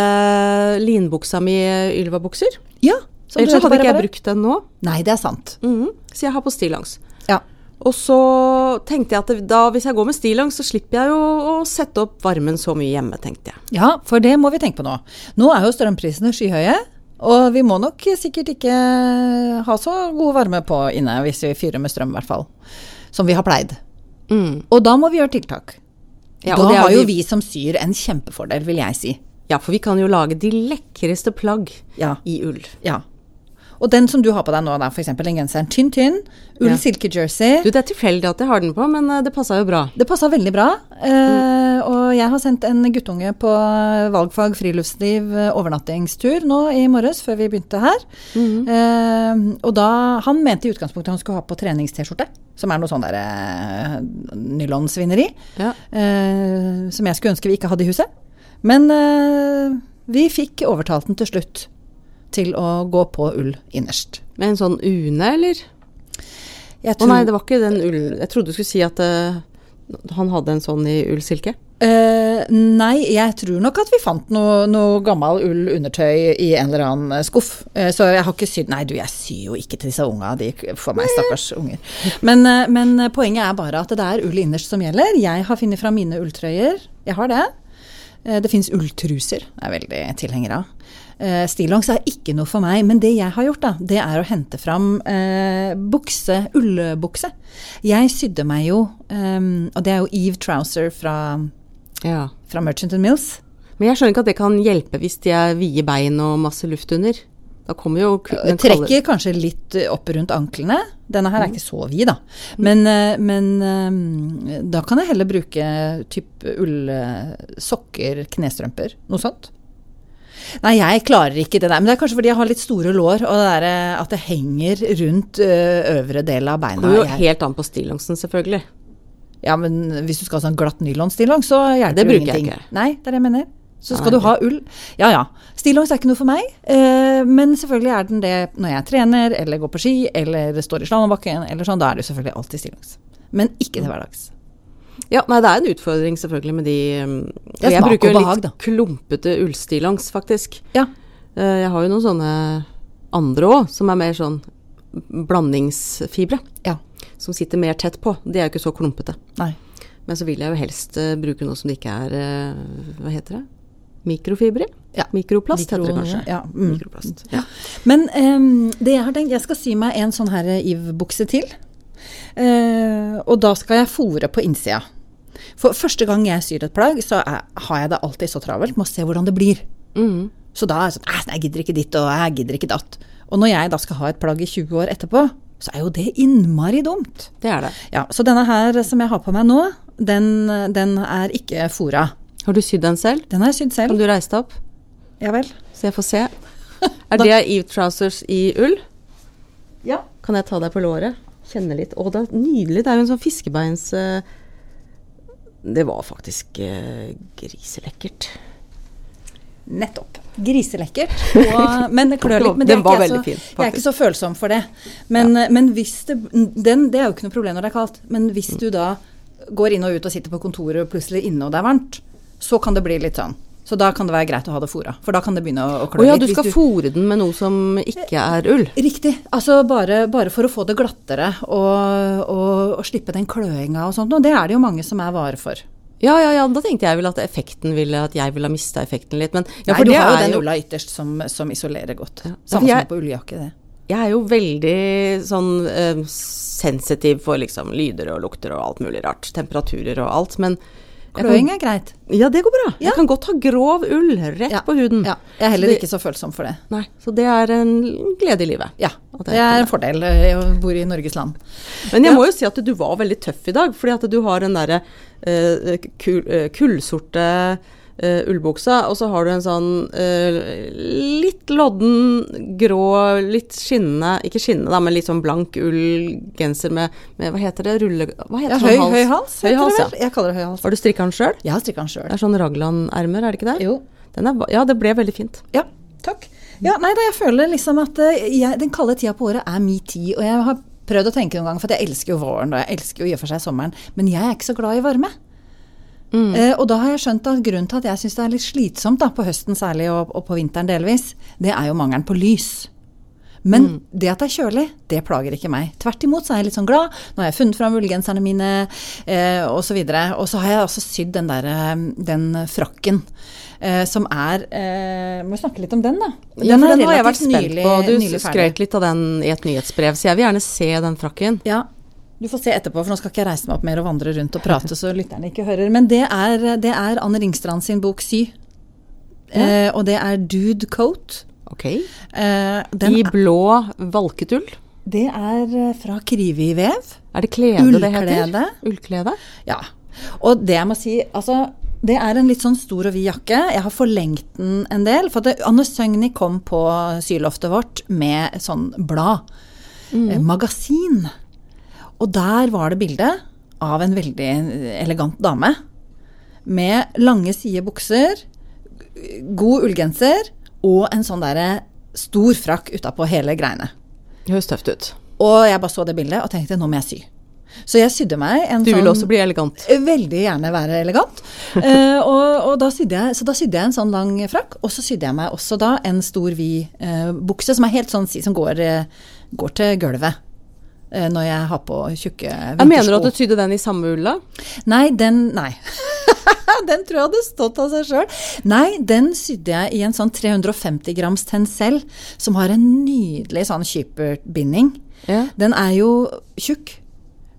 Speaker 1: linbuksa mi Ylva-bukser.
Speaker 2: Ja. som du
Speaker 1: Ellers så hadde
Speaker 2: bare-
Speaker 1: ikke jeg
Speaker 2: bare-
Speaker 1: brukt den nå.
Speaker 2: Nei, det er sant.
Speaker 1: Mhm. Så jeg har på stillongs.
Speaker 2: Ja.
Speaker 1: Og så tenkte jeg at det- da, hvis jeg går med stillongs, så slipper jeg jo å sette opp varmen så mye hjemme, tenkte jeg.
Speaker 2: Ja, for det må vi tenke på nå. Nå er jo strømprisene skyhøye, og vi må nok sikkert ikke ha så god varme på inne hvis vi fyrer med strøm, i hvert fall. Som vi har pleid. Og da må vi gjøre tiltak.
Speaker 1: Mm. Ja, og
Speaker 2: da
Speaker 1: det er
Speaker 2: har
Speaker 1: jo
Speaker 2: jo
Speaker 1: vi-
Speaker 2: vi som syr en kjempefordel, vil jeg si.
Speaker 1: Ja, for vi kan jo lage de lekreste plagg
Speaker 2: Ja.
Speaker 1: i ull.
Speaker 2: ja. Og den som du har på deg nå, da, f.eks. den genseren. Tynn, tynn. Ull
Speaker 1: Ja.
Speaker 2: silkejersey.
Speaker 1: Du, det er tilfeldig at jeg har den på, men eh, det passa jo bra.
Speaker 2: Det passa veldig bra. Eh, og jeg har sendt en guttunge på valgfag friluftsliv eh, overnattingstur nå i morges, før vi begynte her. eh, og da Han mente i utgangspunktet han skulle ha på trenings-T-skjorte, som er noe sånn derre eh, nylonsvineri.
Speaker 1: Ja.
Speaker 2: Eh, som jeg skulle ønske vi ikke hadde i huset. Men eh, vi fikk overtalt den til slutt til å gå på ull innerst.
Speaker 1: Med en sånn une, eller?
Speaker 2: Jeg
Speaker 1: Å nei, det var ikke den ull... Jeg trodde du skulle si at eh, han hadde en sånn i ullsilke.
Speaker 2: Eh, nei, jeg tror nok at vi fant noe, noe gammel ull undertøy i en eller annen eh, skuff. Eh, så jeg har ikke sydd Nei, du, jeg syr jo ikke til disse unga. De k- for meg, stakkars unger. Men, eh, men eh, poenget er bare at det er ull innerst som gjelder. Jeg har funnet fra mine ulltrøyer. Jeg har det. Eh, det fins ulltruser. Det er jeg veldig tilhenger av. Eh, stillongs er ikke noe for meg, men det jeg har gjort, da, det er å hente fram eh, bukse, ullbukse. Jeg sydde meg jo, eh, og det er jo Eve Trouser fra
Speaker 1: Ja.
Speaker 2: fra Merchant and Mills.
Speaker 1: Men jeg skjønner ikke at det kan hjelpe hvis de er vide bein og masse luft under. Da kommer jo ku- den Mm. kalde-
Speaker 2: Trekker kanskje litt eh, opp rundt anklene. Denne her er ikke så vid, da. Men, eh, men eh, da kan jeg heller bruke typ ullsokker, knestrømper, noe sånt. Nei, jeg klarer ikke det der. Men det er kanskje fordi jeg har litt store lår, og det der, eh, at det henger rundt eh, øvre del av
Speaker 1: Det kommer jo
Speaker 2: beina. Jeg,
Speaker 1: helt an på stillongsen, selvfølgelig.
Speaker 2: ja, men hvis du skal ha sånn glatt nylonstillong, så hjelper
Speaker 1: Det
Speaker 2: jo
Speaker 1: bruker jeg
Speaker 2: ingenting.
Speaker 1: ikke.
Speaker 2: Nei, det er det jeg mener. Så
Speaker 1: Nei,
Speaker 2: skal du ha ull. Ja ja. Stillongs er ikke noe for meg, eh, men selvfølgelig er den det når jeg trener, eller går på ski, eller står i slalåmbakken, eller sånn. Da er det jo selvfølgelig alltid stillongs. Men ikke til hverdags.
Speaker 1: Ja, nei, det er en utfordring selvfølgelig med de um,
Speaker 2: Det er
Speaker 1: Jeg
Speaker 2: smak
Speaker 1: bruker
Speaker 2: og
Speaker 1: jo
Speaker 2: behag,
Speaker 1: litt
Speaker 2: da.
Speaker 1: klumpete ullstillongs, faktisk.
Speaker 2: Ja.
Speaker 1: Eh, Jeg har jo noen sånne andre òg, som er mer sånn blandingsfibre.
Speaker 2: Ja.
Speaker 1: Som sitter mer tett på. De er jo ikke så klumpete.
Speaker 2: Nei.
Speaker 1: Men så vil jeg jo helst eh, bruke noe som det ikke er eh, Hva heter det? Mikrofibre?
Speaker 2: Ja.
Speaker 1: Mikroplast heter det
Speaker 2: Mikro-
Speaker 1: kanskje.
Speaker 2: ja, mm.
Speaker 1: Mikroplast. Ja.
Speaker 2: Men ehm, det jeg har tenkt, jeg skal sy meg en sånn her Yves-bukse til. Eh, og da skal jeg fòre på innsida. For første gang jeg syr et plagg, så er, har jeg det alltid så travelt med å se hvordan det blir. Så da er det sånn "Æ, nei, Jeg gidder ikke ditt, og jeg gidder ikke datt. Og når jeg da skal ha et plagg i 20 år etterpå, så er jo det innmari dumt.
Speaker 1: Det er det.
Speaker 2: Ja, Så denne her som jeg har på meg nå, den, den er ikke fora.
Speaker 1: Har du sydd den selv?
Speaker 2: Den har jeg sydd
Speaker 1: Kan
Speaker 2: selv.
Speaker 1: du reise deg opp?
Speaker 2: Ja vel.
Speaker 1: Så jeg får se. Er det Eve Trousers i ull?
Speaker 2: Ja.
Speaker 1: Kan jeg ta deg på låret? Kjenne litt. Å, det er nydelig. Det er jo en sånn fiskebeins... eh, Det var faktisk eh, griselekkert.
Speaker 2: Nettopp. Griselekkert. Og, men det klør litt. Men det er
Speaker 1: Den var
Speaker 2: ikke jeg
Speaker 1: veldig
Speaker 2: så,
Speaker 1: fin,
Speaker 2: jeg er ikke så følsom for det. Men, men hvis det den, Det er jo ikke noe problem når det er kaldt. Men hvis du da går inn og ut og sitter på kontoret og plutselig inne og det er varmt, så kan det bli litt sånn. Så da kan det være greit å ha det fôra. For da kan det begynne å, å
Speaker 1: Å
Speaker 2: klø
Speaker 1: ja,
Speaker 2: litt.
Speaker 1: du
Speaker 2: hvis
Speaker 1: skal fòre den med noe som ikke er ull.
Speaker 2: Riktig. Altså bare, bare for å få det glattere og, og, og slippe den kløinga og sånt. Og det er det jo mange som er vare for.
Speaker 1: Ja, ja, ja, da tenkte jeg vel at effekten ville At jeg ville ha mista effekten litt, men ja,
Speaker 2: Nei,
Speaker 1: for
Speaker 2: du
Speaker 1: det
Speaker 2: har jo
Speaker 1: er
Speaker 2: den
Speaker 1: jo-
Speaker 2: ulla ytterst som, som isolerer godt.
Speaker 1: for
Speaker 2: Samme
Speaker 1: jeg-
Speaker 2: som på ulljakke, det.
Speaker 1: Jeg er jo veldig sånn eh, sensitiv for liksom lyder og lukter og alt mulig rart. Temperaturer og alt, men jeg kan-
Speaker 2: Kløing er greit.
Speaker 1: Ja, det går bra. Jeg kan godt ha grov ull rett
Speaker 2: Ja,
Speaker 1: på huden.
Speaker 2: Ja, jeg er heller
Speaker 1: Så det-
Speaker 2: ikke så følsom for det.
Speaker 1: Nei, så det er en glede i livet.
Speaker 2: Ja,
Speaker 1: At
Speaker 2: Det er en fordel eh, å bo i Norges land.
Speaker 1: Men jeg må jo si at du var veldig tøff i dag, fordi at du har den derre eh, kul, eh, kullsorte eh, ullbuksa, og så har du en sånn eh, litt lodden, grå, litt skinnende Ikke skinnende, da, men litt sånn blank ullgenser med, med Hva heter det? Rulle... Hva heter
Speaker 2: Ja,
Speaker 1: sånn
Speaker 2: høy, høy hals,
Speaker 1: Høy
Speaker 2: heter
Speaker 1: hals,
Speaker 2: det
Speaker 1: ja.
Speaker 2: vel? Jeg kaller det høy hals.
Speaker 1: Har du strikka den sjøl?
Speaker 2: Jeg har strikka den sjøl.
Speaker 1: Det er sånn raglan-ermer, er det ikke det?
Speaker 2: Jo.
Speaker 1: Den er, va- ja, det ble veldig fint.
Speaker 2: Ja, takk. Ja, nei da, jeg føler liksom at eh, jeg, den kalde tida på året er min tid. Og jeg har prøvd å tenke noen ganger, for at jeg elsker jo våren og jeg elsker jo i og for seg sommeren, men jeg er ikke så glad i varme.
Speaker 1: Mm.
Speaker 2: Eh, og da har jeg skjønt at grunnen til at jeg syns det er litt slitsomt, da, på høsten særlig og, og på vinteren delvis, det er jo mangelen på lys. Men
Speaker 1: Mm.
Speaker 2: det at det er kjølig, det plager ikke meg. Tvert imot så er jeg litt sånn glad. Nå har jeg funnet fram ullgenserne mine eh, osv. Og så har jeg også sydd den der, eh, den frakken eh, som er eh, Må vi snakke litt om den, da.
Speaker 1: Ja, for den har jeg vært
Speaker 2: relativt
Speaker 1: spent på. Du
Speaker 2: nylig ferdig.
Speaker 1: skrøt litt av den i et nyhetsbrev, så jeg vil gjerne se den frakken.
Speaker 2: Ja. Du får se etterpå, for nå skal ikke jeg reise meg opp mer og vandre rundt og prate så lytterne ikke hører. Men det er, det er Anne Ringstrand sin bok 'Sy'. Eh, og det er Dude Coat.
Speaker 1: Ok.
Speaker 2: Eh, den,
Speaker 1: I blå valketull.
Speaker 2: det er eh, fra Krivi-vev.
Speaker 1: Er det klede det heter?
Speaker 2: Ullklede.
Speaker 1: Ullklede.
Speaker 2: Ja. Og det jeg må si, altså det er en litt sånn stor og vid jakke. Jeg har forlengt den en del. For at det, Anne Søgni kom på syloftet vårt med et sånn blad.
Speaker 1: Mm.
Speaker 2: eh, Magasin. Og der var det bilde av en veldig elegant dame. Med lange side bukser, god ullgenser og en sånn derre stor frakk utapå hele greiene.
Speaker 1: Det høres tøft ut.
Speaker 2: Og jeg bare så det bildet og tenkte nå må jeg sy. Så jeg sydde meg en
Speaker 1: Du
Speaker 2: sånn
Speaker 1: vil også bli elegant.
Speaker 2: Veldig gjerne være elegant. Eh, og, og da sydde jeg, så da sydde jeg en sånn lang frakk, og så sydde jeg meg også da en stor vid eh, bukse som er helt sånn si- som går, eh, går til gulvet. eh, Når jeg har på tjukke vintersko.
Speaker 1: Jeg mener du at du sydde den i samme ulla?
Speaker 2: Nei, den Nei. den tror jeg hadde stått av seg sjøl. Nei, den sydde jeg i en sånn 350 grams tencel, som har en nydelig sånn kyperbinding.
Speaker 1: Ja.
Speaker 2: Den er jo tjukk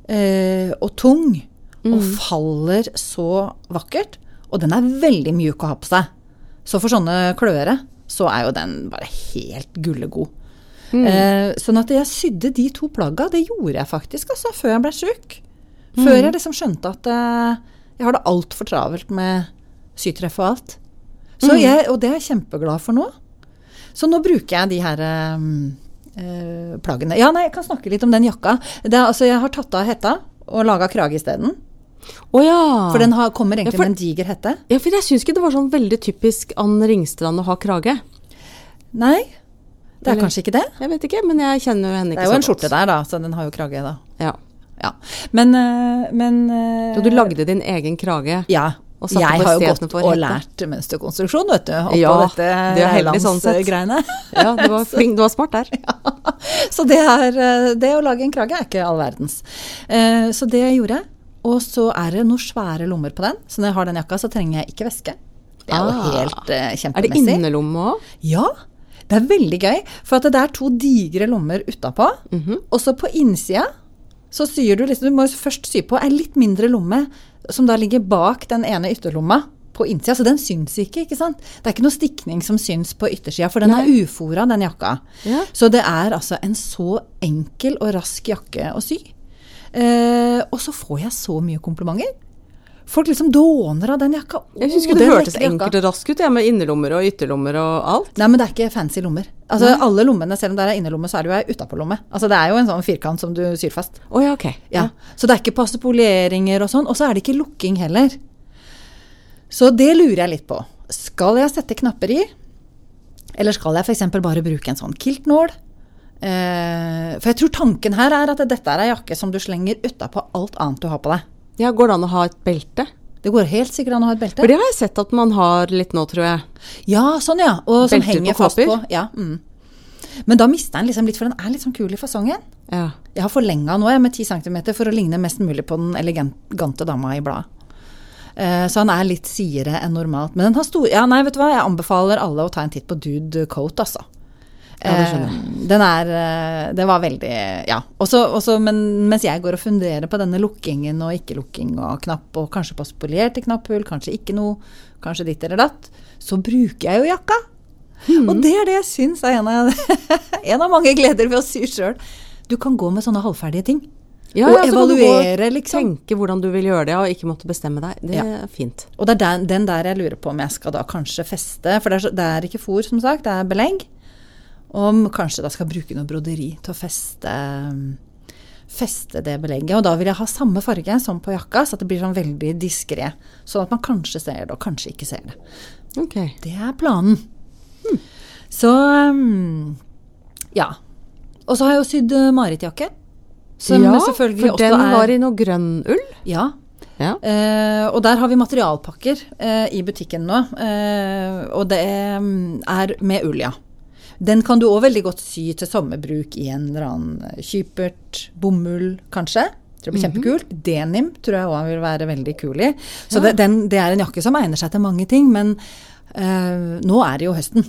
Speaker 2: eh, og tung og faller så vakkert. Og den er veldig mjuk å ha på seg. Så for sånne kløere så er jo den bare helt gullegod. Eh, sånn at jeg sydde de to plagga, det gjorde jeg faktisk altså, før jeg ble sjuk. Før
Speaker 1: Mm.
Speaker 2: jeg liksom skjønte at eh, jeg har det altfor travelt med sytreff og alt.
Speaker 1: Mm.
Speaker 2: Så jeg, og det er jeg kjempeglad for nå. Så nå bruker jeg de her ehm, eh, plaggene. Ja, nei, jeg kan snakke litt om den jakka. Det er, altså, jeg har tatt av hetta og laga krage isteden.
Speaker 1: Å ja.
Speaker 2: For den har, kommer egentlig
Speaker 1: Ah. Ja, for-
Speaker 2: med en diger hette.
Speaker 1: ja. For jeg syns ikke det var sånn veldig typisk Ann Ringstrand å ha krage.
Speaker 2: Nei, det er
Speaker 1: Eller-
Speaker 2: kanskje ikke det.
Speaker 1: Jeg vet ikke, men jeg kjenner jo henne
Speaker 2: Det
Speaker 1: ikke
Speaker 2: er
Speaker 1: så
Speaker 2: jo
Speaker 1: godt.
Speaker 2: en skjorte der, da, så den har jo krage, da.
Speaker 1: Ja.
Speaker 2: Ja. Men, eh, men eh,
Speaker 1: Og du lagde din egen krage.
Speaker 2: Ja.
Speaker 1: og satte
Speaker 2: Jeg
Speaker 1: på
Speaker 2: har jo
Speaker 1: isteden
Speaker 2: gått
Speaker 1: for
Speaker 2: og
Speaker 1: hette.
Speaker 2: lært mønsterkonstruksjon, vet du. Oppå
Speaker 1: Ja,
Speaker 2: dette
Speaker 1: du er heldig sånn sett.
Speaker 2: Reilands-greiene.
Speaker 1: Ja, du var, flink, du var smart der.
Speaker 2: Så det, er, eh, det å lage en krage er ikke all verdens. Eh, Så det gjorde jeg. Og så er det noen svære lommer på den, så når jeg har den jakka, så trenger jeg ikke veske. Det er jo
Speaker 1: Ah.
Speaker 2: helt eh,
Speaker 1: Er det
Speaker 2: kjempemessig.
Speaker 1: innerlomme òg?
Speaker 2: Ja, det
Speaker 1: Mhm.
Speaker 2: er veldig gøy. For at det er to digre lommer utapå, og så på innsida så syr du liksom Du må jo først sy på ei litt mindre lomme, som da ligger bak den ene ytterlomma på innsida, så den syns ikke, ikke sant? Det er ikke noe stikning som syns på yttersida, for den er ufora, den jakka.
Speaker 1: Ja.
Speaker 2: Så det er altså en så enkel og rask jakke å sy. Eh, og så får jeg så mye komplimenter. Folk liksom dåner av den jakka.
Speaker 1: Jeg
Speaker 2: Å,
Speaker 1: syns ikke det
Speaker 2: den
Speaker 1: hørtes
Speaker 2: lekre jakka.
Speaker 1: enkelt og raskt ut, jeg, med innerlommer og ytterlommer og alt.
Speaker 2: Nei, men det er ikke fancy lommer. Altså, alle lommene, Selv om det er innerlomme, så er det jo ei utapålomme. Altså, det er jo en sånn firkant som du syr fast.
Speaker 1: Å ja, ok.
Speaker 2: Ja. Så det er ikke passe poleringer og sånn. Og så er det ikke lukking heller. Så det lurer jeg litt på. Skal jeg sette knapper i? Eller skal jeg f.eks. bare bruke en sånn kiltnål? Eh, for jeg tror tanken her er at dette er ei jakke som du slenger utapå alt annet du har på deg.
Speaker 1: Ja, Går det an å ha et belte?
Speaker 2: Det går helt sikkert an å ha et belte.
Speaker 1: For det har jeg sett at man har litt nå, tror jeg.
Speaker 2: Ja, sånn ja. Og som
Speaker 1: Belter
Speaker 2: henger
Speaker 1: på
Speaker 2: fast på.
Speaker 1: kopper?
Speaker 2: Ja, mm. Men da mister den liksom litt, for den er litt sånn kul i fasongen.
Speaker 1: Ja.
Speaker 2: Jeg har forlenga nå jeg, med 10 cm for å ligne mest mulig på den elegante dama i bladet. Eh, Så han er litt sidere enn normalt. Men den har stor Ja, nei, vet du hva, jeg anbefaler alle å ta en titt på Dude Coat, altså.
Speaker 1: Ja, det skjønner
Speaker 2: Eh, Den er eh, Det var veldig Ja. Også, også, men mens jeg går og funderer på denne lukkingen og ikke-lukking og knapp, og kanskje på spolerte knapphull, kanskje ikke noe, kanskje ditt eller datt, så bruker jeg jo jakka.
Speaker 1: Hmm.
Speaker 2: Og det er det jeg syns er en av, en av mange gleder ved å sy sjøl. Du kan gå med sånne halvferdige ting.
Speaker 1: Ja,
Speaker 2: og
Speaker 1: ja, så kan du gå og
Speaker 2: evaluere, liksom.
Speaker 1: Tenke hvordan du vil gjøre det, og ikke måtte bestemme deg. Det
Speaker 2: Ja.
Speaker 1: er fint.
Speaker 2: Og det er den, den der jeg lurer på om jeg skal da kanskje feste, for det er, så, det er ikke fôr, som sagt, det er belegg. Om kanskje da skal bruke noe broderi til å feste, feste det belegget. Og da vil jeg ha samme farge som på jakka, så at det blir sånn veldig diskré. Sånn at man kanskje ser det, og kanskje ikke ser det.
Speaker 1: Ok.
Speaker 2: Det er planen. Hm. Så um, ja. Og så har jeg jo sydd eh, Marit-jakke. Som
Speaker 1: ja,
Speaker 2: selvfølgelig
Speaker 1: for
Speaker 2: også
Speaker 1: den
Speaker 2: er
Speaker 1: var i noe grønn ull.
Speaker 2: Ja,
Speaker 1: Ja.
Speaker 2: Eh, og der har vi materialpakker eh, i butikken nå. eh, og det mm, er med ull, ja. Den kan du òg veldig godt sy til sommerbruk i en eller annen kypert, bomull kanskje. Tror det blir kjempekult. Denim tror jeg òg han vil være veldig kul i. Så det, den, det er en jakke som egner seg til mange ting, men eh, nå er det jo høsten.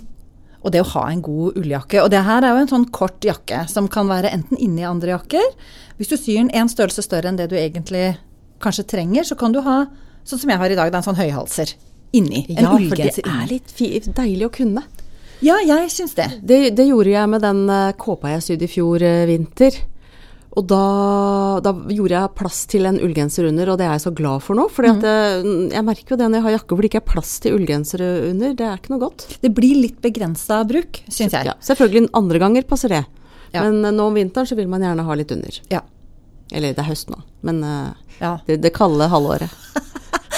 Speaker 2: Og det å ha en god ulljakke. Og det her er jo en sånn kort jakke som kan være enten inni andre jakker. Hvis du syr den en størrelse større enn det du egentlig kanskje trenger, så kan du ha sånn som jeg har i dag, det er en sånn høyhalser inni. En
Speaker 1: ja, for det
Speaker 2: ullgenser
Speaker 1: er
Speaker 2: inni.
Speaker 1: litt fi deilig å kunne.
Speaker 2: Ja, jeg syns det.
Speaker 1: Det, det gjorde jeg med den eh, kåpa jeg sydde i fjor eh, vinter. Og da, da gjorde jeg plass til en ullgenser under, og det er jeg så glad for nå. For
Speaker 2: Mhm.
Speaker 1: jeg merker jo det når jeg har jakke hvor det ikke er plass til ullgensere under. Det er ikke noe godt.
Speaker 2: Det blir litt begrensa bruk, syns jeg.
Speaker 1: Ja, selvfølgelig andre ganger passer det.
Speaker 2: Ja.
Speaker 1: Men eh, nå om vinteren så vil man gjerne ha litt under.
Speaker 2: Ja.
Speaker 1: Eller det er høst nå, men eh,
Speaker 2: Ja.
Speaker 1: det, det kalde halvåret.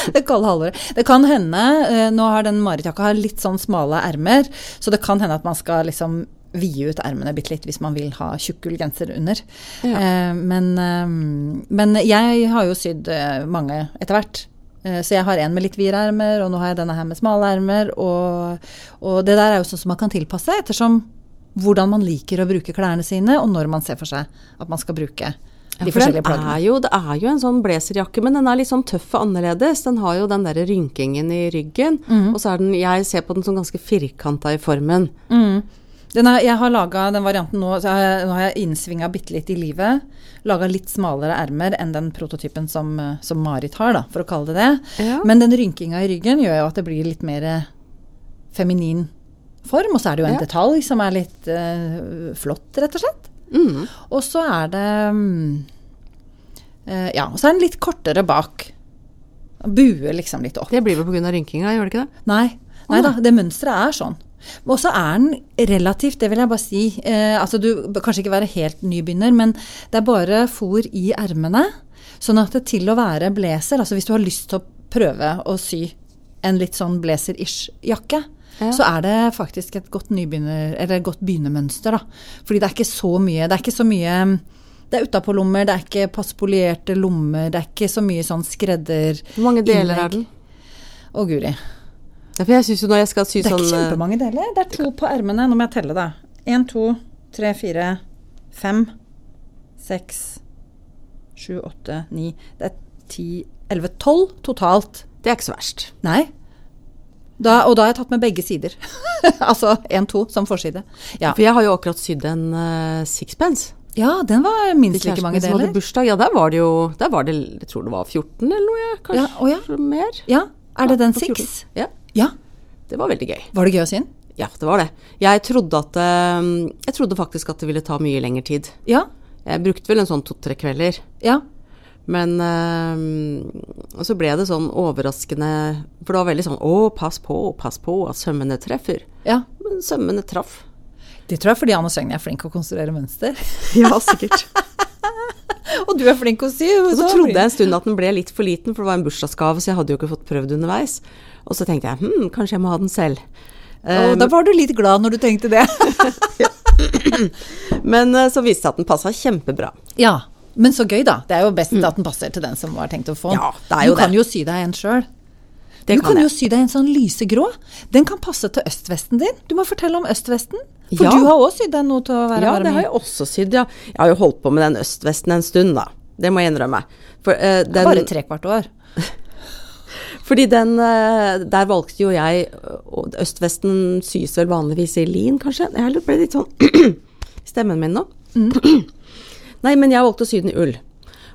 Speaker 2: Det kalde halvåret. Det kan hende eh, Nå har den Marit-jakka har litt sånn smale ermer, så det kan hende at man skal liksom vide ut ermene bitte litt hvis man vil ha tjukk ullgenser under.
Speaker 1: Ja.
Speaker 2: Eh, men, eh, men jeg har jo sydd eh, mange etter hvert. Eh, Så jeg har en med litt vide ermer, og nå har jeg denne her med smale ermer. Og, og det der er jo sånn som man kan tilpasse ettersom hvordan man liker å bruke klærne sine, og når man ser for seg at man skal bruke de
Speaker 1: For den
Speaker 2: forskjellige plaggene.
Speaker 1: er jo, det er jo en sånn blazerjakke, men den er litt sånn tøff og annerledes. Den har jo den der rynkingen i ryggen,
Speaker 2: Mhm.
Speaker 1: og så er den Jeg ser på den som ganske firkanta i formen.
Speaker 2: Mm. Den er, jeg har laga den varianten nå, så har jeg, nå har jeg innsvinga bitte litt i livet. Laga litt smalere ermer enn den prototypen som, eh, som Marit har, da, for å kalle det det.
Speaker 1: Ja.
Speaker 2: Men den rynkinga i ryggen gjør jo at det blir litt mer eh, feminin form. Og så er det jo en
Speaker 1: Ja.
Speaker 2: detalj som er litt eh, flott, rett og slett. Og så er det mm, eh, Ja, og så er den litt kortere bak. Buer liksom litt opp.
Speaker 1: Det blir vel pga. rynkinga, gjør det ikke det?
Speaker 2: Nei, nei da, det mønsteret er sånn. Og så er den relativt, det vil jeg bare si eh, Altså du bør kanskje ikke være helt nybegynner, men det er bare fôr i ermene. Sånn at det til å være blazer, altså hvis du har lyst til å prøve å sy en litt sånn blazer-ish jakke,
Speaker 1: Ja.
Speaker 2: så er det faktisk et godt nybegynner, eller et godt begynnermønster, da. Fordi det er ikke så mye, det er ikke så mye det er utapålommer, det er ikke passpolerte lommer, det er ikke så mye sånn skredder...
Speaker 1: Hvor mange deler
Speaker 2: innlegg.
Speaker 1: er den?
Speaker 2: Å, guri.
Speaker 1: Ja, for jeg syns jo når jeg skal sy
Speaker 2: Det er
Speaker 1: sånn
Speaker 2: ikke
Speaker 1: eh,
Speaker 2: kjempemange deler. Det er to på ermene. Nå må jeg telle, da. Én, to, tre, fire, fem, seks, sju, åtte, ni Det er ti, elleve, tolv totalt.
Speaker 1: Det er ikke så verst.
Speaker 2: Nei. Da, og da har jeg tatt med begge sider. altså én, to som forside. Ja.
Speaker 1: For jeg har jo akkurat sydd en eh, sixpence.
Speaker 2: Ja, den var minst like
Speaker 1: Kjæresten
Speaker 2: mange
Speaker 1: min som hadde
Speaker 2: deler.
Speaker 1: bursdag, ja, der var det jo Der var det, jeg tror det var 14 eller noe, jeg, kanskje
Speaker 2: Ja, å ja.
Speaker 1: mer.
Speaker 2: Ja, er det den
Speaker 1: på 14.
Speaker 2: six?
Speaker 1: Ja,
Speaker 2: Ja.
Speaker 1: det var veldig gøy.
Speaker 2: Var det gøy å sy den?
Speaker 1: Ja, det var det. Jeg trodde at eh, Jeg trodde faktisk at det ville ta mye lengre tid.
Speaker 2: Ja.
Speaker 1: Jeg brukte vel en sånn to-tre kvelder.
Speaker 2: Ja.
Speaker 1: Men eh, og så ble det sånn overraskende For det var veldig sånn Å, pass på, pass på at sømmene treffer.
Speaker 2: ja.
Speaker 1: Men sømmene traff.
Speaker 2: Det tror jeg er fordi Anne Søgn er flink å konstruere mønster.
Speaker 1: Ja, sikkert.
Speaker 2: Og du er flink å sy.
Speaker 1: Og så trodde jeg en stund at den ble litt for liten, for det var en bursdagsgave, så jeg hadde jo ikke fått prøvd underveis. Og så tenkte jeg hm, kanskje jeg må ha den selv. Eh,
Speaker 2: Og da var du litt glad når du tenkte det.
Speaker 1: men eh, så viste det seg at den passa kjempebra.
Speaker 2: ja. Men så gøy, da. Det er jo best at den passer til den som var tenkt å få den.
Speaker 1: Mm. Ja, det er jo
Speaker 2: du kan
Speaker 1: det.
Speaker 2: jo sy deg en sjøl.
Speaker 1: Det
Speaker 2: Du
Speaker 1: kan
Speaker 2: kan
Speaker 1: jeg.
Speaker 2: jo sy deg en sånn lysegrå. Den kan passe til østvesten din. Du må fortelle om østvesten. For
Speaker 1: Ja.
Speaker 2: du har òg sydd deg noe til å være
Speaker 1: Ja,
Speaker 2: varm
Speaker 1: det har
Speaker 2: i.
Speaker 1: jeg også sydd, ja. Jeg har jo holdt på med den østvesten en stund, da. Det må jeg innrømme. For, eh, den,
Speaker 2: Bare trekvart år.
Speaker 1: fordi den eh, Der valgte jo jeg og Østvesten sys vel vanligvis i lin, kanskje? Jeg ble litt sånn Stemmen min nå. Nei, men jeg valgte å sy den i ull.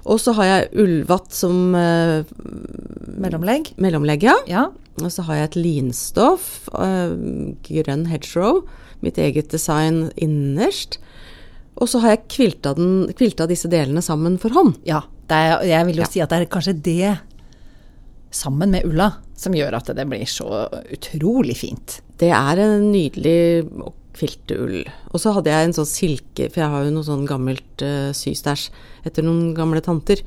Speaker 1: Og så har jeg ullvatt som eh,
Speaker 2: Mellomlegg.
Speaker 1: mellomlegg, ja.
Speaker 2: Ja.
Speaker 1: Og så har jeg et linstoff, øh, grønn hedgerow, mitt eget design innerst. Og så har jeg kvilta, den, kvilta disse delene sammen for hånd.
Speaker 2: Ja, det er, jeg vil jo si at det er kanskje det, sammen med ulla, som gjør at det blir så utrolig fint.
Speaker 1: Det er en nydelig å kvilte ull. Og så hadde jeg en sånn silke, for jeg har jo noe sånn gammelt øh, systæsj etter noen gamle tanter.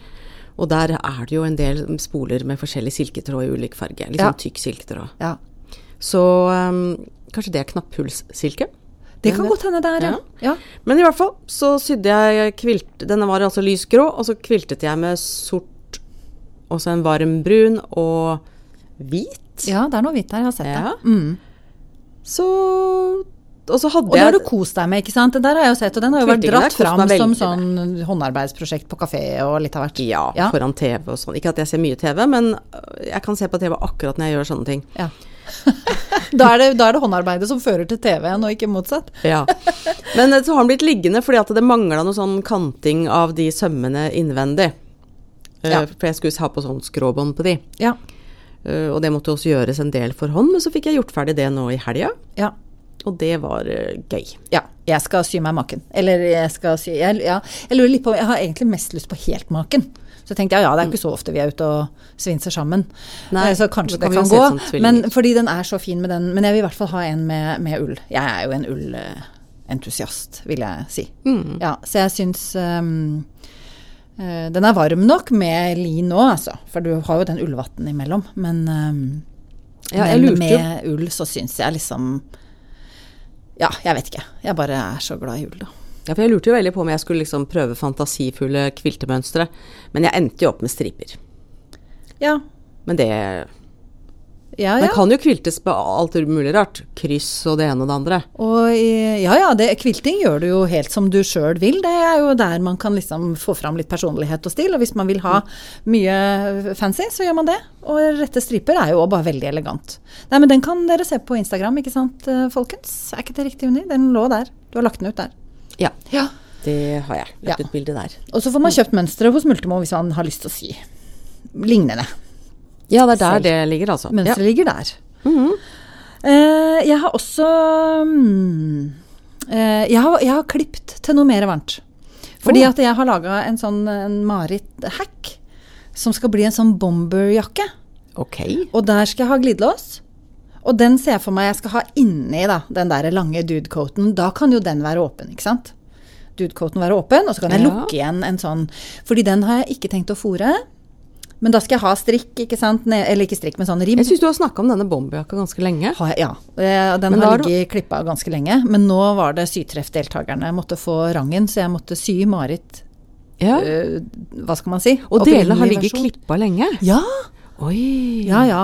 Speaker 1: Og der er det jo en del spoler med forskjellig silketråd i ulik farge. Litt
Speaker 2: Ja.
Speaker 1: sånn tykk silketråd.
Speaker 2: Ja.
Speaker 1: Så øh, kanskje det er knapphullssilke?
Speaker 2: Det kan godt hende det er, ja. ja.
Speaker 1: Men i hvert fall så sydde jeg kvilt Denne var altså lysgrå, og så kviltet jeg med sort, og så en varm brun og hvit.
Speaker 2: Ja, det er noe hvitt her, jeg har sett det.
Speaker 1: Ja.
Speaker 2: Mm.
Speaker 1: Så Og så hadde
Speaker 2: Og det har
Speaker 1: jeg
Speaker 2: du kost deg med, ikke sant? Den der har jeg jo sett, og den har jo vært
Speaker 1: Kviltingen har
Speaker 2: dratt
Speaker 1: jeg kost
Speaker 2: fram
Speaker 1: meg
Speaker 2: som
Speaker 1: veldig
Speaker 2: sånn håndarbeidsprosjekt på kafé og litt av hvert.
Speaker 1: ja,
Speaker 2: Ja.
Speaker 1: foran TV og sånn. Ikke at jeg ser mye TV, men øh, jeg kan se på TV akkurat når jeg gjør sånne ting.
Speaker 2: Ja. da, er det, da er det håndarbeidet som fører til TV-en, og ikke motsatt.
Speaker 1: Ja. Men øh, så har den blitt liggende fordi at det mangla noe sånn kanting av de sømmene innvendig. Eh,
Speaker 2: Ja.
Speaker 1: For jeg skulle ha på sånn skråbånd på de.
Speaker 2: Ja.
Speaker 1: Eh, og det måtte også gjøres en del for hånd, men så fikk jeg gjort ferdig det nå i helga.
Speaker 2: ja.
Speaker 1: Og det var eh, gøy.
Speaker 2: Ja, jeg skal sy meg maken. Eller jeg skal sy jeg, ja, jeg lurer litt på Jeg har egentlig mest lyst på helt maken. Så tenkte jeg ja, det er ikke så ofte vi er ute og svinser sammen.
Speaker 1: Nei,
Speaker 2: Eh, så kanskje
Speaker 1: da kan
Speaker 2: det
Speaker 1: vi jo
Speaker 2: kan,
Speaker 1: se sånn
Speaker 2: gå.
Speaker 1: som tvillinger.
Speaker 2: men fordi den er så fin med den. Men jeg vil i hvert fall ha en med, med ull. Jeg er jo en ullentusiast, vil jeg si.
Speaker 1: Mm.
Speaker 2: Ja, så jeg syns ehm, eh, den er varm nok med lin nå, altså. For du har jo den ullvatten imellom. Men ehm,
Speaker 1: Ja, jeg
Speaker 2: men
Speaker 1: lurte jo-
Speaker 2: med ull så syns jeg liksom Ja, jeg vet ikke. Jeg bare er så glad i ull, da.
Speaker 1: Ja, for jeg lurte jo veldig på om jeg skulle liksom prøve fantasifulle kviltemønstre, men jeg endte jo opp med striper.
Speaker 2: Ja,
Speaker 1: Men det
Speaker 2: ja.
Speaker 1: Men
Speaker 2: ja.
Speaker 1: kan jo kviltes på alt mulig rart. Kryss og det ene og det andre.
Speaker 2: Og i, ja, ja, det, kvilting gjør du jo helt som du sjøl vil. Det er jo der man kan liksom få fram litt personlighet og stil. Og hvis man vil ha mye fancy, så gjør man det. Og rette striper er jo også bare veldig elegant. Nei, men den kan dere se på Instagram, ikke sant eh, folkens? Er ikke det riktig, Unni? Den lå der. Du har lagt den ut der.
Speaker 1: Ja,
Speaker 2: Ja.
Speaker 1: det har jeg. Lagt
Speaker 2: Ja.
Speaker 1: ut bilde der.
Speaker 2: Og så får man kjøpt mønstre hos Multimo hvis man har lyst til å sy lignende.
Speaker 1: Ja, det er der det ligger, altså. Ja. Mhm.
Speaker 2: Mønsteret ligger der. Eh, jeg har også mm, eh, jeg, har, jeg har klippt til noe mer varmt. Fordi
Speaker 1: Oh.
Speaker 2: at jeg har laga en sånn en Marit-hack som skal bli en sånn bomberjakke.
Speaker 1: Ok.
Speaker 2: Og der skal jeg ha glidelås. Og den ser jeg for meg jeg skal ha inni da, den der lange dudecoaten. Da kan jo den være åpen, ikke sant? Dudecoaten være åpen, og så kan jeg
Speaker 1: Ja.
Speaker 2: lukke igjen en sånn. Fordi den har jeg ikke tenkt å fòre. Men da skal jeg ha strikk, ikke sant? Ne- Eller ikke strikk, men sånn ribb.
Speaker 1: Jeg syns du har snakka om denne bomberjakka ganske lenge.
Speaker 2: Har jeg, ja. Eh, Den
Speaker 1: Men da
Speaker 2: har
Speaker 1: har du-
Speaker 2: ligget klippa ganske lenge. Men nå var det sytreffdeltakerne. Jeg måtte få rangen, så jeg måtte sy Marit
Speaker 1: Ja.
Speaker 2: eh, Hva skal man si?
Speaker 1: Og delene har
Speaker 2: Opprinnelig
Speaker 1: ligget
Speaker 2: versjon.
Speaker 1: klippa lenge.
Speaker 2: Ja,
Speaker 1: Oi.
Speaker 2: ja, ja.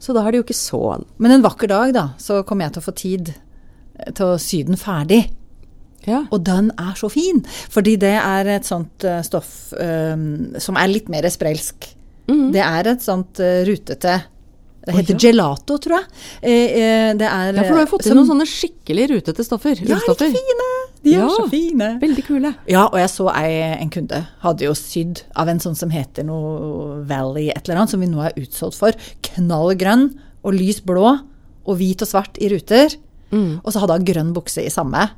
Speaker 1: Så da er det jo ikke sånn. så
Speaker 2: Men en vakker dag, da, så kommer jeg til å få tid eh, til å sy den ferdig.
Speaker 1: Ja.
Speaker 2: Og den er så fin! Fordi det er et sånt eh, stoff eh, som er litt mer sprelsk.
Speaker 1: Mhm.
Speaker 2: Det er et sånt eh, rutete Det heter gelato, tror jeg. Eh, eh, det er
Speaker 1: ja, for du har jo fått inn
Speaker 2: som-
Speaker 1: noen sånne skikkelig rutete stoffer.
Speaker 2: Ja, litt
Speaker 1: ullstoffer.
Speaker 2: fine! De er
Speaker 1: Ja.
Speaker 2: så fine.
Speaker 1: Veldig kule.
Speaker 2: Ja, og jeg så ei, en kunde hadde jo sydd av en sånn som heter noe Valley et eller annet, som vi nå er utsolgt for. Knallgrønn og lys blå og hvit og svart i ruter. Og så hadde hun grønn bukse i samme.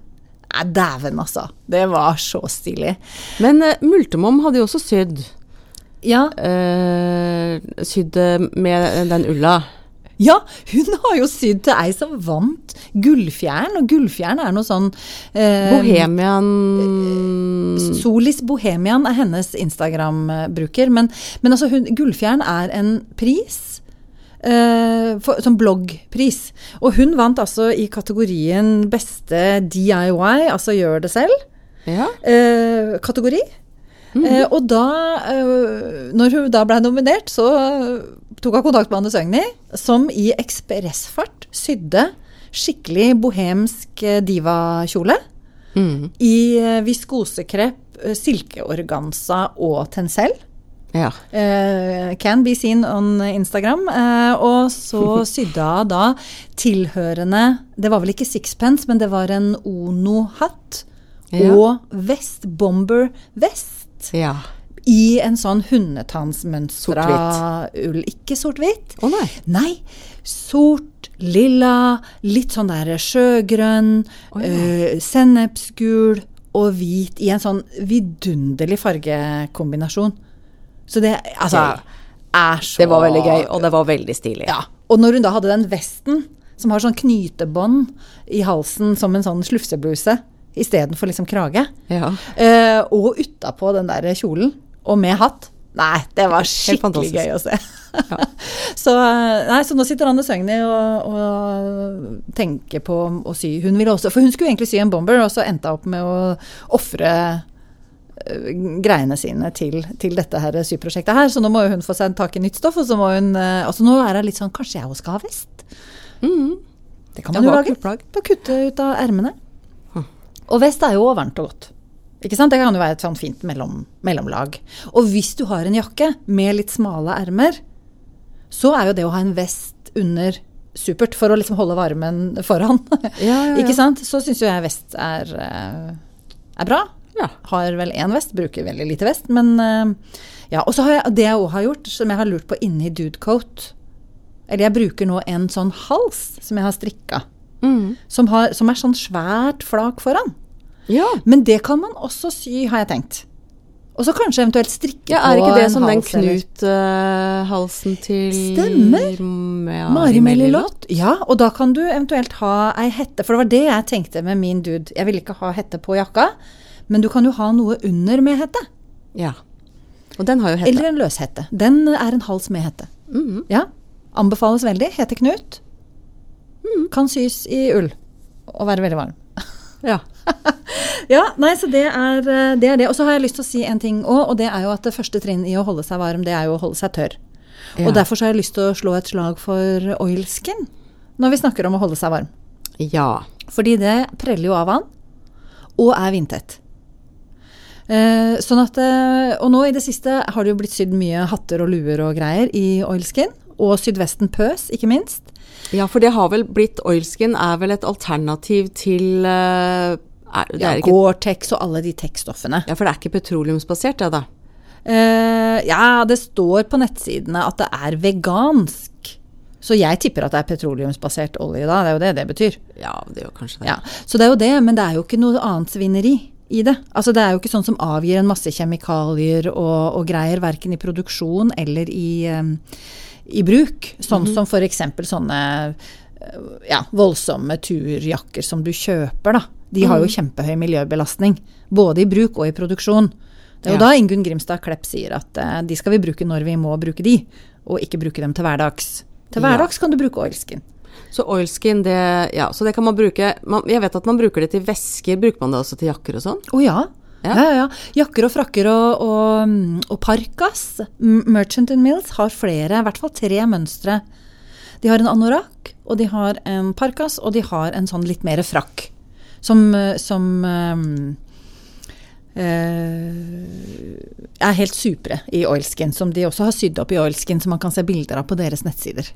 Speaker 2: Nei, dæven, altså. Det var så stilig.
Speaker 1: Men eh, Multemom hadde jo også sydd.
Speaker 2: Ja,
Speaker 1: eh, sydd eh, med den ulla.
Speaker 2: Ja, hun har jo sydd til ei som vant Gullfjæren, og Gullfjæren er noe sånn eh,
Speaker 1: Bohemian
Speaker 2: Solis Bohemian er hennes Instagram-bruker, men, men altså hun, Gullfjæren er en pris. eh, for, som bloggpris. Og hun vant altså i kategorien beste DIY, altså gjør det selv
Speaker 1: Ja.
Speaker 2: eh, kategori. Eh, og da, eh, når hun da ble nominert, så eh, tok hun kontakt med Anne Søgni, som i ekspressfart sydde skikkelig bohemsk eh, divakjole
Speaker 1: Mm.
Speaker 2: i eh, viskosekrepp, eh, silkeorganza og tencel.
Speaker 1: ja.
Speaker 2: Eh, can be seen on Instagram. Eh, og så sydde hun da tilhørende Det var vel ikke sixpence, men det var en Ono-hatt.
Speaker 1: Ja.
Speaker 2: Og vest, bomber-vest.
Speaker 1: ja.
Speaker 2: I en sånn hundetannsmønstra ull. Ikke sort-hvitt.
Speaker 1: Å nei.
Speaker 2: Nei. Sort, lilla, litt sånn der sjøgrønn, eh, sennepsgul og hvit i en sånn vidunderlig fargekombinasjon. Så det altså, er så
Speaker 1: Det var veldig gøy, og det var veldig stilig.
Speaker 2: Ja. Og når hun da hadde den vesten som har sånn knytebånd i halsen som en sånn slufsebluse istedenfor liksom krage,
Speaker 1: Ja.
Speaker 2: eh, og utapå den der kjolen, og med hatt Nei, det var skikkelig
Speaker 1: fantastisk.
Speaker 2: gøy å se. så, eh, nei, så nå sitter Anne Søgni og, og tenker på å sy Hun ville også, for hun skulle egentlig sy en bomber, og så endte hun opp med å ofre eh, greiene sine til, til dette her syprosjektet her, så nå må jo hun få seg en tak i nytt stoff, og så må hun eh, Altså nå er hun litt sånn Kanskje jeg også skal ha vest? Det kan
Speaker 1: Mm. Ja,
Speaker 2: man jo
Speaker 1: hva
Speaker 2: lage.
Speaker 1: kult plagg.
Speaker 2: Da kutte ut av ermene. Og vest er jo varmt og godt. Ikke sant? Det kan jo være et sånn fint mellom, mellomlag. Og hvis du har en jakke med litt smale ermer, så er jo det å ha en vest under supert for å liksom holde varmen foran.
Speaker 1: Ja, ja, ja.
Speaker 2: Ikke sant? Så syns jo jeg vest er, eh, er bra.
Speaker 1: Ja.
Speaker 2: Har vel én vest, bruker veldig lite vest, men eh, ja. Og så har jeg det jeg òg har gjort, som jeg har lurt på inni dudecoat Eller jeg bruker nå en sånn hals som jeg har strikka,
Speaker 1: Mm.
Speaker 2: som, har, som er sånn svært flak foran.
Speaker 1: ja.
Speaker 2: Men det kan man også sy, har jeg tenkt. Og så kanskje eventuelt strikke
Speaker 1: Ja, Er
Speaker 2: på
Speaker 1: ikke det
Speaker 2: en
Speaker 1: som den
Speaker 2: hals eller-
Speaker 1: Knut-halsen til
Speaker 2: Stemmer.
Speaker 1: Mari,
Speaker 2: Mari Mellilott. Ja, og da kan du eventuelt ha ei hette, for det var det jeg tenkte med min dude. Jeg ville ikke ha hette på jakka, men du kan jo ha noe under med hette.
Speaker 1: Ja. Og den har jo hette.
Speaker 2: Eller en løshette. Den er en hals med hette.
Speaker 1: Mhm.
Speaker 2: Ja. Anbefales veldig. Heter Knut. Kan sys i ull. Og være veldig varm.
Speaker 1: Ja.
Speaker 2: Ja, nei, så det er eh, det. Er det. Og så har jeg lyst til å si en ting òg, og det er jo at det første trinn i å holde seg varm, det er jo å holde seg tørr.
Speaker 1: Ja.
Speaker 2: Og derfor så har jeg lyst til å slå et slag for oilskin når vi snakker om å holde seg varm.
Speaker 1: ja.
Speaker 2: Fordi det preller jo av vann, og er vindtett. Eh, sånn at, eh, og nå i det siste har det jo blitt sydd mye hatter og luer og greier i oilskin. Og sydvesten pøs, ikke minst.
Speaker 1: Ja, for det har vel blitt Oilskin er vel et alternativ til eh, er, det
Speaker 2: Ja,
Speaker 1: er ikke,
Speaker 2: Gore-Tex og alle de tekststoffene.
Speaker 1: ja, for det er ikke petroleumsbasert, det da?
Speaker 2: Eh, ja, det står på nettsidene at det er vegansk. Så jeg tipper at det er petroleumsbasert olje da, det er jo det det betyr.
Speaker 1: Ja, det gjør kanskje det.
Speaker 2: Ja, Så det er jo det, men det er jo ikke noe annet svineri i det. Altså Det er jo ikke sånn som avgir en masse kjemikalier og, og greier, verken i produksjon eller i, eh, i bruk. Sånn
Speaker 1: Mhm.
Speaker 2: som for eksempel sånne eh, ja, voldsomme turjakker som du kjøper, da. De har jo
Speaker 1: Mhm.
Speaker 2: kjempehøy miljøbelastning, både i bruk og i produksjon. Det er jo
Speaker 1: Ja.
Speaker 2: da Ingunn Grimstad Klepp sier at eh, de skal vi bruke når vi må bruke de, og ikke bruke dem til hverdags. Til
Speaker 1: Ja.
Speaker 2: hverdags kan du bruke oilskin.
Speaker 1: Så oilskin, det, ja, så det kan man bruke man, Jeg vet at man bruker det til vesker. Bruker man det også til jakker og sånn?
Speaker 2: Å ja.
Speaker 1: Ja.
Speaker 2: Ja. ja, ja. Jakker og frakker og, og, mm, og parkas. M- Merchant and Mills har flere, i hvert fall tre mønstre. De har en anorakk, og de har en parkas, og de har en sånn litt mer frakk. Som, eh, som eh, eh, er helt supre i oilskin, som de også har sydd opp i oilskin, som man kan se bilder av på deres nettsider.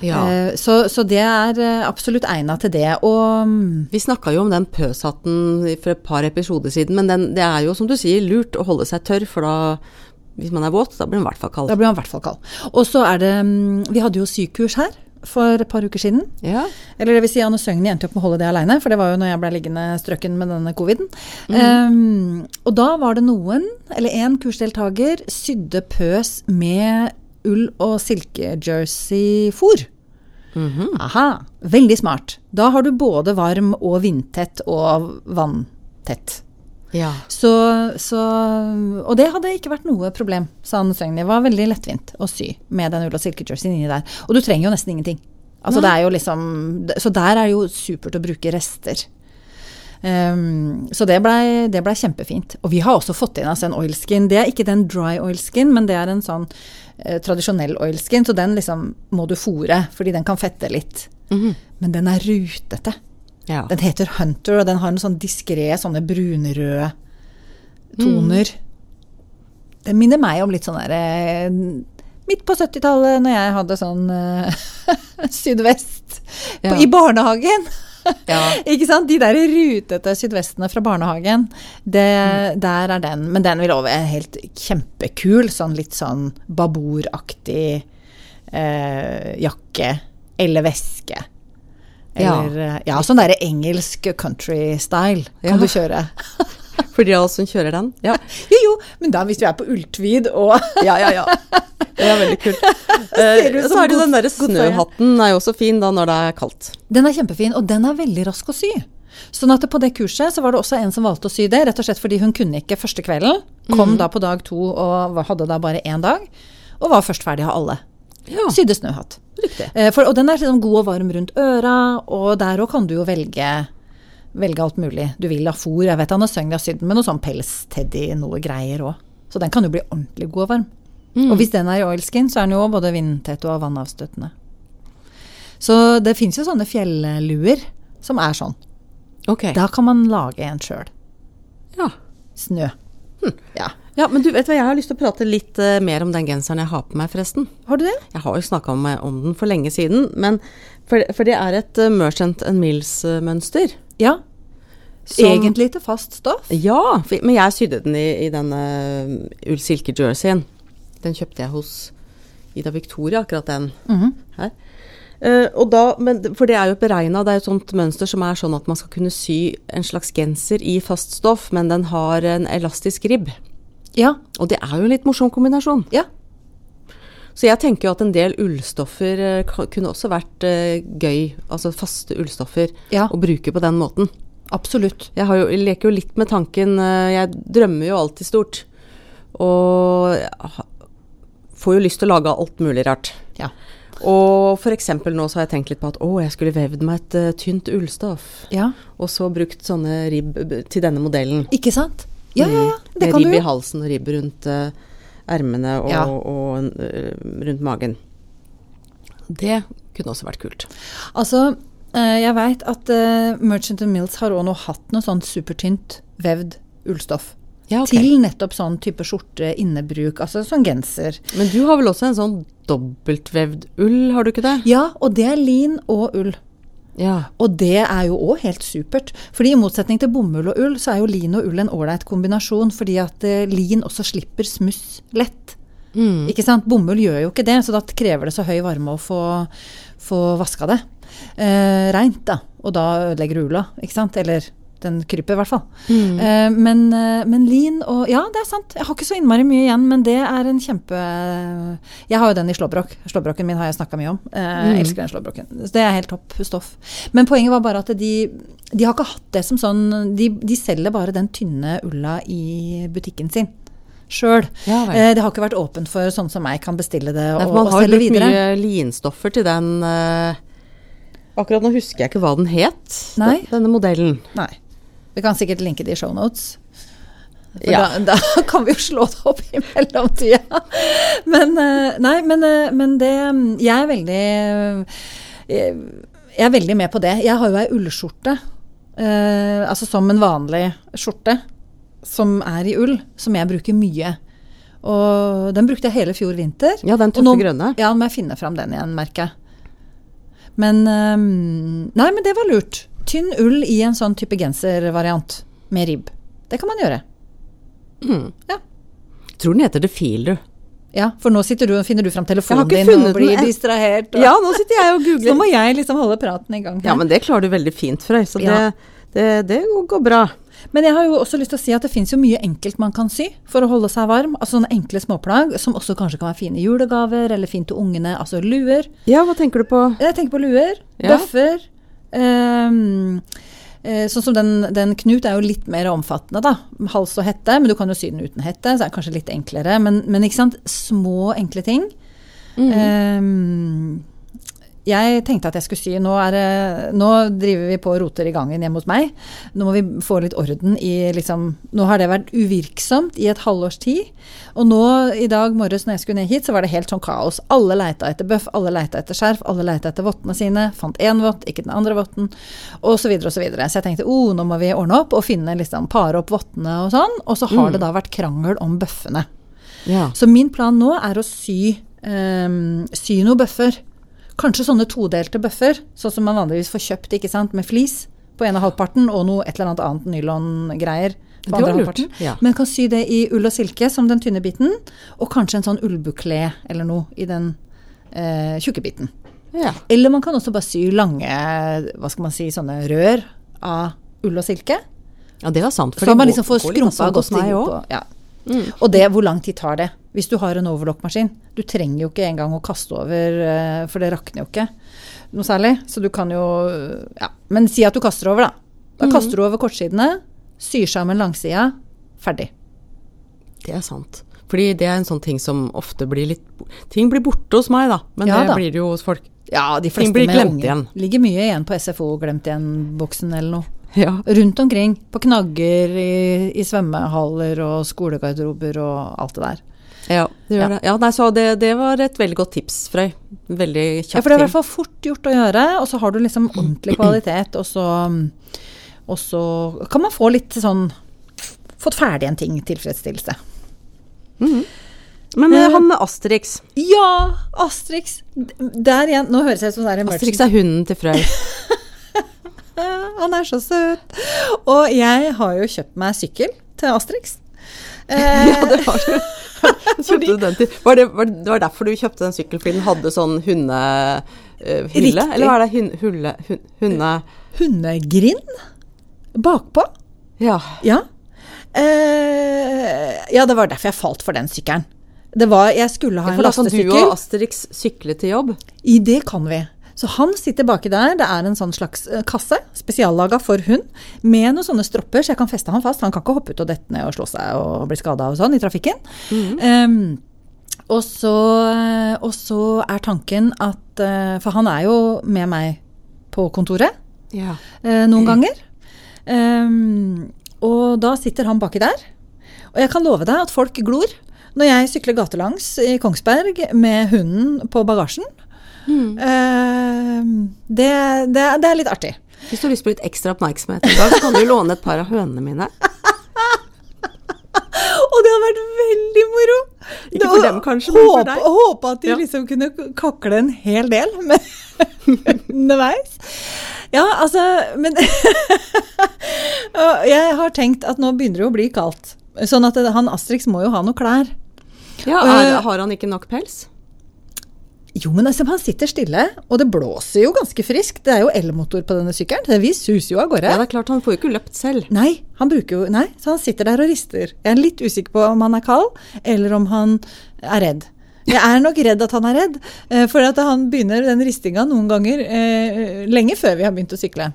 Speaker 1: Ja.
Speaker 2: Eh, Så, så det er eh, absolutt egna til det. Og mm,
Speaker 1: Vi snakka jo om den pøshatten for et par episoder siden, men den, det er jo som du sier lurt å holde seg tørr, for da, hvis man er våt, da blir man i hvert fall kald.
Speaker 2: da blir han i hvert fall kald. Og så er det mm, Vi hadde jo sykurs her for et par uker siden.
Speaker 1: Ja.
Speaker 2: Eller det vil si Anne Søgni endte opp med å holde det aleine, for det var jo når jeg ble liggende strøkken med denne coviden. Ehm, og da var det noen, eller én kursdeltaker, sydde pøs med ull- og silkejersey-fôr. Aha, Veldig smart. Da har du både varm og vindtett og vanntett.
Speaker 1: ja.
Speaker 2: Så, så, og det hadde ikke vært noe problem, sa Anne Søgni. Det var veldig lettvint å sy med den ull- og silkejerseyen inni der. Og du trenger jo nesten ingenting. Altså, det er jo liksom, så der er det jo supert å bruke rester. Ehm, så det blei ble kjempefint. Og vi har også fått inn altså en oilskin. Det er ikke den dry oilskin, men det er en sånn eh, tradisjonell oilskin. Så den liksom må du fòre, fordi den kan fette litt. Men den er rutete.
Speaker 1: ja.
Speaker 2: Den heter Hunter, og den har en sånn diskré sånne brunrøde toner.
Speaker 1: Mm.
Speaker 2: Den minner meg om litt sånn derre Midt på 70-tallet, når jeg hadde sånn eh, sydvest på,
Speaker 1: Ja.
Speaker 2: i barnehagen.
Speaker 1: Ja.
Speaker 2: Ikke sant? De der rutete sydvestene fra barnehagen. Det,
Speaker 1: Mm.
Speaker 2: Der er den. Men den vil over være helt kjempekul. Sånn litt sånn baboraktig eh, jakke. Eller veske. Eller, ja. ja, sånn derre engelsk country-style kan
Speaker 1: Ja.
Speaker 2: du kjøre.
Speaker 1: For de av oss som kjører den. Ja,
Speaker 2: Jo, jo, men da hvis du er på Ulltvid og
Speaker 1: ja, ja. ja. Det er veldig kult. Eh,
Speaker 2: Ser ut
Speaker 1: og
Speaker 2: som
Speaker 1: så er det jo
Speaker 2: god-
Speaker 1: den derre
Speaker 2: god ferie.
Speaker 1: snøhatten er jo også fin da når det er kaldt.
Speaker 2: Den er kjempefin, og den er veldig rask å sy. Sånn at på det kurset så var det også en som valgte å sy det, rett og slett fordi hun kunne ikke første kvelden.
Speaker 1: Mhm.
Speaker 2: Kom da på dag to og var- hadde da bare én dag, og var først ferdig av alle.
Speaker 1: Ja.
Speaker 2: Sydde snøhatt.
Speaker 1: Riktig.
Speaker 2: Eh, For, og den er liksom god og varm rundt øra, og der òg kan du jo velge, velge alt mulig. Du vil ha fôr, jeg vet Anne Søgn har sydd den med noe sånn pelsteddy, noe greier òg. Så den kan jo bli ordentlig god og varm.
Speaker 1: Mm.
Speaker 2: Og hvis den er i oilskin, så er den jo både vindtett og vannavstøtende. Så det fins jo sånne fjelluer som er sånn.
Speaker 1: Ok.
Speaker 2: Da kan man lage en sjøl.
Speaker 1: Ja.
Speaker 2: Snø. Ja.
Speaker 1: ja, men du vet hva, jeg har lyst til å prate litt eh, mer om den genseren jeg har på meg, forresten.
Speaker 2: Har du det?
Speaker 1: Jeg har jo snakka om, eh, om den for lenge siden, men for, for det er et eh, Merchant and eh, Mills-mønster.
Speaker 2: Ja.
Speaker 1: Som-
Speaker 2: Egentlig til fast stoff.
Speaker 1: Ja, for, men jeg sydde den i, i denne ull-silke-jerseyen. Den kjøpte jeg hos Ida Victoria, akkurat den
Speaker 2: Mhm.
Speaker 1: her. Eh, og da, men, d- for det er jo beregna, det er jo et sånt mønster som er sånn at man skal kunne sy en slags genser i fast stoff, men den har en elastisk ribb.
Speaker 2: Ja.
Speaker 1: Og det er jo en litt morsom kombinasjon.
Speaker 2: Ja.
Speaker 1: Så jeg tenker jo at en del ullstoffer eh, ka- kunne også vært eh, gøy, altså faste ullstoffer,
Speaker 2: Ja.
Speaker 1: å bruke på den måten.
Speaker 2: Absolutt.
Speaker 1: Jeg, har jo, jeg leker jo litt med tanken eh, Jeg drømmer jo alltid stort. Og jeg ha- får jo lyst til å lage alt mulig rart.
Speaker 2: Ja.
Speaker 1: Og f.eks. nå så har jeg tenkt litt på at å, jeg skulle vevd meg et eh, tynt ullstoff.
Speaker 2: ja.
Speaker 1: Og så brukt sånne ribb b- til denne modellen.
Speaker 2: Ikke sant? Ja, ja, ja. Mm. Det
Speaker 1: Med
Speaker 2: kan du
Speaker 1: ribb i
Speaker 2: jo.
Speaker 1: halsen og ribb rundt eh, ermene og,
Speaker 2: Ja.
Speaker 1: og en, eh, rundt magen. Det kunne også vært kult.
Speaker 2: Altså, eh, jeg veit at eh, Merchant and Mills har òg nå hatt noe sånt supertynt vevd ullstoff.
Speaker 1: Ja, ok.
Speaker 2: Til nettopp sånn type skjorte, innebruk, altså sånn genser.
Speaker 1: Men du har vel også en sånn dobbeltvevd ull, har du ikke det?
Speaker 2: Ja, og det er lin og ull.
Speaker 1: Ja.
Speaker 2: Og det er jo òg helt supert. Fordi i motsetning til bomull og ull, så er jo lin og ull en ålreit kombinasjon, fordi at eh, lin også slipper smuss lett.
Speaker 1: Mm.
Speaker 2: Ikke sant? Bomull gjør jo ikke det, så da krever det så høy varme å få, få vaska det. Eh, Reint, da. Og da ødelegger du ulla, ikke sant? Eller den kryper, i hvert fall.
Speaker 1: Mm.
Speaker 2: Eh, men, eh, men lin og Ja, det er sant. Jeg har ikke så innmari mye igjen, men det er en kjempe Jeg har jo den i slåbrok. Slåbroken min har jeg snakka mye om. Eh,
Speaker 1: Mm.
Speaker 2: Jeg elsker den slåbroken. Så det er helt topp stoff. Men poenget var bare at de, de har ikke hatt det som sånn De, de selger bare den tynne ulla i butikken sin sjøl.
Speaker 1: Ja vel.
Speaker 2: Eh, det har ikke vært åpent for sånn som meg kan bestille det
Speaker 1: Nei,
Speaker 2: og,
Speaker 1: for man
Speaker 2: og
Speaker 1: har jo
Speaker 2: selge
Speaker 1: brukt mye
Speaker 2: videre.
Speaker 1: linstoffer til den eh, Akkurat nå husker jeg ikke hva den het,
Speaker 2: Nei.
Speaker 1: den- denne modellen.
Speaker 2: Nei. Vi kan sikkert linke det i shownotes. For
Speaker 1: Ja.
Speaker 2: da, da kan vi jo slå det opp i mellomtida. Men eh, Nei, men, eh, men det Jeg er veldig eh, Jeg er veldig med på det. Jeg har jo ei ullskjorte, eh, altså som en vanlig skjorte, som er i ull, som jeg bruker mye. Og den brukte jeg hele fjor vinter.
Speaker 1: Ja, den
Speaker 2: Og nå-
Speaker 1: tøffe grønne.
Speaker 2: Ja, nå må jeg finne fram den igjen, merker jeg. Men ehm, Nei, men det var lurt. Tynn ull i en sånn type genservariant med ribb. Det kan man gjøre.
Speaker 1: Jeg tror den heter The Feel, du.
Speaker 2: Ja, For nå sitter du, finner du fram telefonen
Speaker 1: ikke
Speaker 2: din
Speaker 1: funnet
Speaker 2: og blir
Speaker 1: den.
Speaker 2: distrahert. Og,
Speaker 1: Ja, nå sitter jeg og
Speaker 2: Så nå
Speaker 1: googler.
Speaker 2: må jeg liksom holde praten i gang. her.
Speaker 1: Ja, men det klarer du veldig fint, Frøy, så det,
Speaker 2: Ja.
Speaker 1: det, det går bra.
Speaker 2: Men jeg har jo også lyst til å si at det fins jo mye enkelt man kan sy for å holde seg varm. Altså sånne enkle småplagg som også kanskje kan være fine julegaver eller fint til ungene. Altså luer.
Speaker 1: Ja, hva tenker du på?
Speaker 2: Jeg tenker på luer,
Speaker 1: Ja.
Speaker 2: bøffer. ehm, eh, sånn som den, den Knut er jo litt mer omfattende, da. Hals og hette, men du kan jo sy den uten hette, så er det kanskje litt enklere. Men, men ikke sant, små, enkle ting.
Speaker 1: Mm.
Speaker 2: Ehm, jeg tenkte at jeg skulle sy nå, er, det- nå driver vi på og roter i gangen hjemme hos meg. Nå må vi få litt orden i liksom Nå har det vært uvirksomt i et halvårs tid. Og nå i dag morges når jeg skulle ned hit, så var det helt sånn kaos. Alle leita etter bøff, alle leita etter skjerf, alle leita etter vottene sine. Fant én vott, ikke den andre votten, osv. Så, videre, og så, videre. så jeg tenkte oh, nå må vi ordne opp og finne liksom pare opp vottene og sånn. Og så har det da vært krangel om bøffene.
Speaker 1: Ja.
Speaker 2: Så min plan nå er å sy, ehm, sy noen bøffer. Kanskje sånne todelte bøffer, sånn som man vanligvis får kjøpt ikke sant, med flis på ene halvparten og noe et eller annet annet nylongreier.
Speaker 1: Det
Speaker 2: på andre
Speaker 1: var lurt,
Speaker 2: halvparten.
Speaker 1: ja.
Speaker 2: Men kan sy det i ull og silke som den tynne biten, og kanskje en sånn ullbukle eller noe i den eh, tjukke biten.
Speaker 1: ja.
Speaker 2: Eller man kan også bare sy lange hva skal man si, sånne rør av ull og silke.
Speaker 1: Ja, det var sant. for
Speaker 2: Så har
Speaker 1: det
Speaker 2: man
Speaker 1: går-
Speaker 2: liksom fått
Speaker 1: går litt
Speaker 2: skrumpa
Speaker 1: sånn
Speaker 2: godt
Speaker 1: hos meg
Speaker 2: i
Speaker 1: også.
Speaker 2: på ja. Og det, hvor lang tid tar det? Hvis du har en overlockmaskin. Du trenger jo ikke engang å kaste over, eh, for det rakner jo ikke noe særlig. Så du kan jo eh, Ja. Men si at du kaster over, da. Da
Speaker 1: Mm.
Speaker 2: kaster du over kortsidene, syr sammen langsida, ferdig.
Speaker 1: Det er sant. Fordi det er en sånn ting som ofte blir litt Ting blir borte hos meg, da. Men
Speaker 2: Ja
Speaker 1: det
Speaker 2: da.
Speaker 1: blir det jo hos folk.
Speaker 2: Ja, de
Speaker 1: Ting
Speaker 2: fleste
Speaker 1: blir
Speaker 2: med
Speaker 1: glemt
Speaker 2: unger.
Speaker 1: igjen.
Speaker 2: Ligger mye igjen på SFO glemt igjen-boksen eller noe.
Speaker 1: Ja.
Speaker 2: Rundt omkring. På knagger, i, i svømmehaller og skolegarderober og alt det der.
Speaker 1: Ja, det gjør
Speaker 2: Ja.
Speaker 1: det. Ja, nei, så det, det var et veldig godt tips, Frøy. Veldig kjapt
Speaker 2: Ja, for det er i hvert
Speaker 1: ting.
Speaker 2: fall fort gjort å gjøre, og så har du liksom ordentlig kvalitet, og så, og så kan man få litt sånn Fått ferdig en ting, tilfredsstillelse.
Speaker 1: Men eh, han Asterix
Speaker 2: Ja, Astrix! Der igjen. Nå høres jeg ut som det er en merchant.
Speaker 1: Asterix er hunden til Frøy.
Speaker 2: Han er så søt! Og jeg har jo kjøpt meg sykkel til Astrix. Eh,
Speaker 1: Ja, det var det. Kjøpte du den til var det, var det det var derfor du kjøpte den sykkelen? Fordi den hadde sånn hundehylle? hylle?
Speaker 2: Riktig.
Speaker 1: Eller hva er det? Hun, hulle, hun, hunde...
Speaker 2: Hundegrind bakpå.
Speaker 1: Ja.
Speaker 2: Ja. Eh, ja, det var derfor jeg falt for den sykkelen. Det sånn var, jeg skulle ha en
Speaker 1: For da kan du
Speaker 2: lastesykkel.
Speaker 1: og Asterix sykle til jobb.
Speaker 2: I det kan vi. Så han sitter baki der. Det er en sånn slags eh, kasse, spesiallaga for hund, med noen sånne stropper, så jeg kan feste han fast. Han kan ikke hoppe ut og dette ned og slå seg og bli skada og sånn i trafikken. Ehm, og, så, eh, og så er tanken at eh, For han er jo med meg på kontoret
Speaker 1: Ja.
Speaker 2: eh, noen ganger. Ehm, og da sitter han baki der. Og jeg kan love deg at folk glor når jeg sykler gatelangs i Kongsberg med hunden på bagasjen. Ehm, det, det, det er litt artig.
Speaker 1: Hvis du har lyst på litt ekstra oppmerksomhet i dag, så kan du låne et par av hønene mine.
Speaker 2: Og det har vært veldig moro!
Speaker 1: Ikke for dem kanskje, men
Speaker 2: men
Speaker 1: for deg.
Speaker 2: Håpe at de
Speaker 1: Ja.
Speaker 2: liksom kunne kakle en hel del men underveis. Ja, altså Men Og jeg har tenkt at nå begynner det jo å bli kaldt. Sånn at det- han Astrix må jo ha noe klær.
Speaker 1: Ja, eh, er, Har han ikke nok pels?
Speaker 2: Jo, men altså, han sitter stille, og det blåser jo ganske friskt. Det er jo elmotor på denne sykkelen. Vi suser jo av gårde.
Speaker 1: Ja, det er klart, han får jo ikke løpt selv.
Speaker 2: Nei, han bruker jo, nei, så han sitter der og rister. Jeg er litt usikker på om han er kald, eller om han er redd. Jeg er nok redd at han er redd, eh, for at han begynner den ristinga noen ganger eh, lenge før vi har begynt å sykle.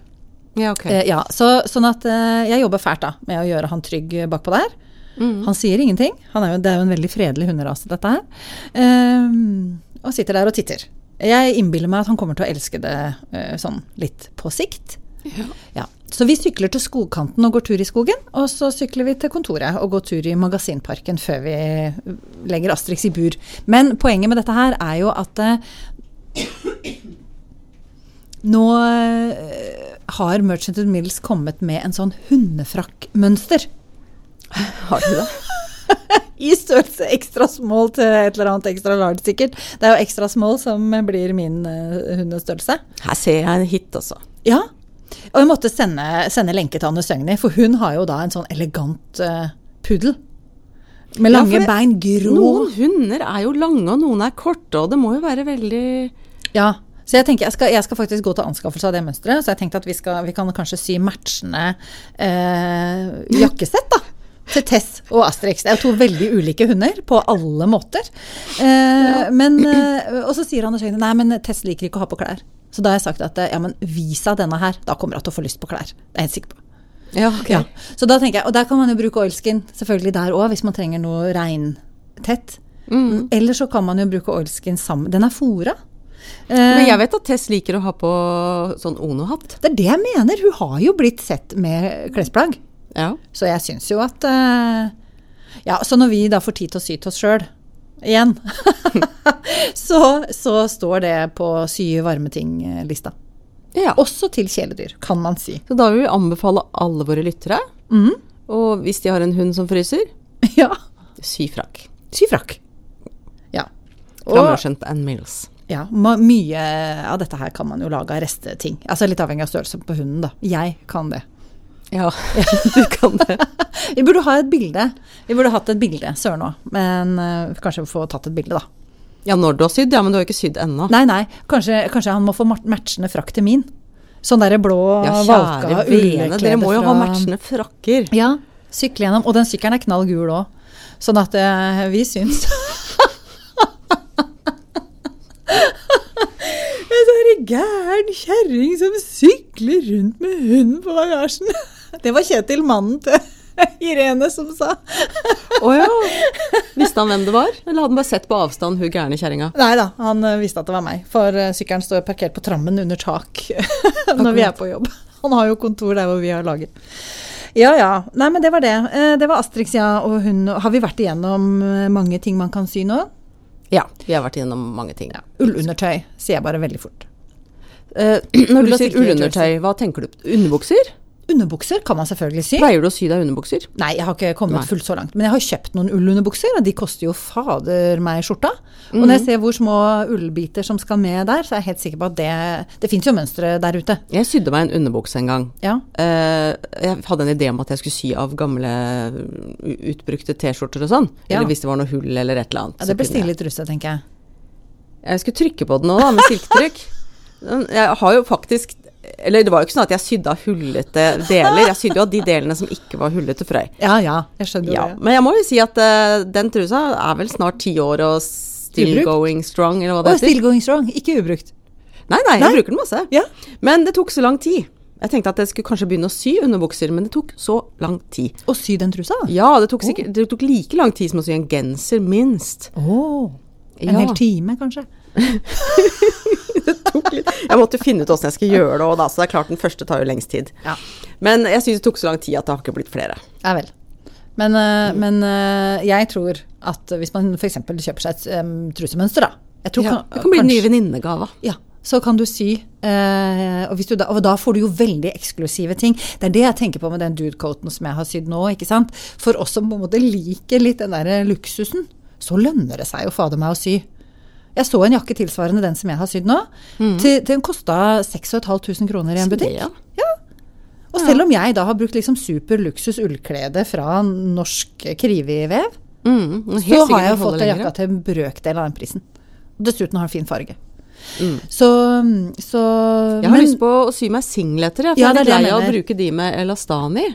Speaker 1: Ja, ok.
Speaker 2: Eh, ja, så, sånn at eh, jeg jobber fælt da, med å gjøre han trygg eh, bakpå der.
Speaker 1: mm.
Speaker 2: Han sier ingenting. Han er jo, det er jo en veldig fredelig hunderase, dette her. Ehm, og sitter der og titter. Jeg innbiller meg at han kommer til å elske det eh, sånn litt på sikt. Ja. Så vi sykler til skogkanten og går tur i skogen. Og så sykler vi til kontoret og går tur i magasinparken før vi eh, legger Astrix i bur. Men poenget med dette her er jo at eh, nå eh, har Merchanted Mills kommet med en sånn hundefrakkmønster.
Speaker 1: Har du det?
Speaker 2: I størrelse ekstra small til et eller annet ekstra large, sikkert. Det er jo ekstra small som blir min eh, hundestørrelse.
Speaker 1: Her ser jeg en hit, altså.
Speaker 2: Ja. Og jeg måtte sende, sende lenke til Anne Søgni, for hun har jo da en sånn elegant eh, puddel. Med
Speaker 1: Ja,
Speaker 2: lange
Speaker 1: for det-
Speaker 2: bein, grå
Speaker 1: Noen hunder er jo lange, og noen er korte, og det må jo være veldig
Speaker 2: Ja. Så jeg tenker jeg skal, jeg skal faktisk gå til anskaffelse av det mønsteret. Så jeg tenkte at vi, skal, vi kan kanskje sy matchende eh, jakkesett, da. Til Tess og Asterix. Det er jo to veldig ulike hunder på alle måter. Eh, men, eh, og så sier Anders Høgne nei, men Tess liker ikke å ha på klær. Så da har jeg sagt at eh, ja, men vis henne denne her. Da kommer hun til å få lyst på klær. Det er jeg helt sikker på.
Speaker 1: Ja, ok.
Speaker 2: Ja. Så da tenker jeg, Og der kan man jo bruke oilskin selvfølgelig der òg, hvis man trenger noe regntett.
Speaker 1: Mm.
Speaker 2: Eller så kan man jo bruke oilskin sammen. Den er fora. Eh,
Speaker 1: Men jeg vet at Tess liker å ha på sånn Ono-hatt.
Speaker 2: det er det jeg mener. Hun har jo blitt sett med klesplagg.
Speaker 1: Ja.
Speaker 2: Så jeg syns jo at eh, Ja, så når vi da får tid til å sy til oss sjøl igjen, så, så står det på sy varme ting-lista.
Speaker 1: ja.
Speaker 2: Også til kjæledyr, kan man si.
Speaker 1: Så da vil vi anbefale alle våre lyttere,
Speaker 2: Mhm.
Speaker 1: og hvis de har en hund som fryser,
Speaker 2: ja.
Speaker 1: sy frakk.
Speaker 2: Sy frakk. Ja.
Speaker 1: Fra
Speaker 2: Og-
Speaker 1: Merchant and Mills.
Speaker 2: Ja, ma- mye av dette her kan man jo lage av resteting. Altså litt avhengig av størrelsen på hunden, da. Jeg kan det.
Speaker 1: Ja, du kan det.
Speaker 2: Vi burde ha et bilde. Vi burde hatt et bilde, søren òg. Men eh, kanskje få tatt et bilde, da.
Speaker 1: Ja, når du har sydd, ja, men du har jo ikke sydd ennå.
Speaker 2: Nei, nei, kanskje, kanskje han må få mat- matchende frakk til min. Sånn derre blå
Speaker 1: Ja,
Speaker 2: valka
Speaker 1: kjære vene,
Speaker 2: ullklede
Speaker 1: dere må jo ha
Speaker 2: fra-
Speaker 1: matchende frakker.
Speaker 2: Ja, sykle gjennom. Og den sykkelen er knall gul òg. Sånn at eh, vi syns En sånn gæren kjerring som sykler rundt med hunden på bagasjen. Det var Kjetil, mannen til Irene, som sa.
Speaker 1: Å ja. Visste han hvem det var, eller hadde han bare sett på avstand hun gærne kjerringa?
Speaker 2: Nei da, han eh, visste at det var meg, for eh, sykkelen står parkert på trammen under tak når vi er på jobb. Han har jo kontor der hvor vi har lager. Ja ja. Nei, men det var det. Eh, Det var Astrix, ja, og hun Har vi vært igjennom eh, mange ting man kan sy nå?
Speaker 1: Ja, vi har vært gjennom mange ting.
Speaker 2: Ullundertøy, sier jeg bare veldig fort.
Speaker 1: Eh, når
Speaker 2: Ull
Speaker 1: du
Speaker 2: og
Speaker 1: sier
Speaker 2: silke,
Speaker 1: ullundertøy, hva tenker du? Underbukser?
Speaker 2: Underbukser kan man selvfølgelig sy.
Speaker 1: Pleier du å sy deg underbukser?
Speaker 2: Nei, jeg har ikke kommet
Speaker 1: Nei.
Speaker 2: fullt så langt. Men jeg har kjøpt noen ullunderbukser, og de koster jo fader meg skjorta. Og når jeg ser hvor små ullbiter som skal med der, så er jeg helt sikker på at det Det fins jo mønstre der ute.
Speaker 1: Jeg sydde meg en underbukse en gang.
Speaker 2: Ja.
Speaker 1: Eh, jeg hadde en idé om at jeg skulle sy av gamle u- utbrukte T-skjorter og sånn.
Speaker 2: Ja.
Speaker 1: Eller hvis det var noe hull eller et eller annet.
Speaker 2: ja
Speaker 1: så
Speaker 2: det
Speaker 1: kunne
Speaker 2: blir
Speaker 1: jeg-
Speaker 2: stille litt russe, tenker jeg.
Speaker 1: Jeg skulle trykke på den nå, da, med silketrykk. Men Jeg har jo faktisk Eller det var jo ikke sånn at jeg sydde av hullete deler. Jeg sydde jo av de delene som ikke var hullete frøy.
Speaker 2: Ja ja, jeg skjønner jo
Speaker 1: Ja,
Speaker 2: det.
Speaker 1: men jeg må jo si at eh, den trusa er vel snart ti år og still
Speaker 2: Ubrukt?
Speaker 1: going strong, eller hva
Speaker 2: Og
Speaker 1: det heter.
Speaker 2: still going strong, ikke ubrukt.
Speaker 1: Nei, nei, jeg bruker den masse.
Speaker 2: Ja.
Speaker 1: Men det tok så lang tid. Jeg tenkte at jeg skulle kanskje begynne å sy underbukser, men det tok så lang tid.
Speaker 2: Og sy den trusa, da.
Speaker 1: Ja, det tok, sikkert, det tok like lang tid som å sy en genser, minst.
Speaker 2: Åh, en
Speaker 1: Ja.
Speaker 2: hel time, kanskje.
Speaker 1: Jeg måtte finne ut åssen jeg skal gjøre det òg, da, så det er klart den første tar jo lengst tid.
Speaker 2: Ja.
Speaker 1: Men jeg syns det tok så lang tid at det har ikke blitt flere.
Speaker 2: Ja vel. Men, eh, men eh, jeg tror at hvis man f.eks. kjøper seg et em, trusemønster, da jeg tror kan-
Speaker 1: det kan bli den nye
Speaker 2: kanskje-
Speaker 1: venninnegava.
Speaker 2: Ja, så kan du sy. eh, og, hvis du da, og da får du jo veldig eksklusive ting. Det er det jeg tenker på med den dudecoaten som jeg har sydd nå. ikke sant? For oss som på en måte liker litt den der luksusen, så lønner det seg jo fader meg å sy. Jeg så en jakke tilsvarende den som jeg har sydd nå. Til, til den kosta 6500 kroner i en butikk.
Speaker 1: Ja.
Speaker 2: Og selv om jeg da har brukt liksom super luksus ullklede fra norsk krivevev,
Speaker 1: Mm,
Speaker 2: så har jeg jo fått en jakka til en brøkdel av den prisen. Dessuten har den fin farge. Så, så
Speaker 1: Mm. Jeg har
Speaker 2: men-
Speaker 1: lyst på å sy meg singleter, jeg, for
Speaker 2: Ja,
Speaker 1: jeg er
Speaker 2: det er
Speaker 1: litt
Speaker 2: det
Speaker 1: lei
Speaker 2: jeg
Speaker 1: av å
Speaker 2: mener.
Speaker 1: bruke de med elastan i.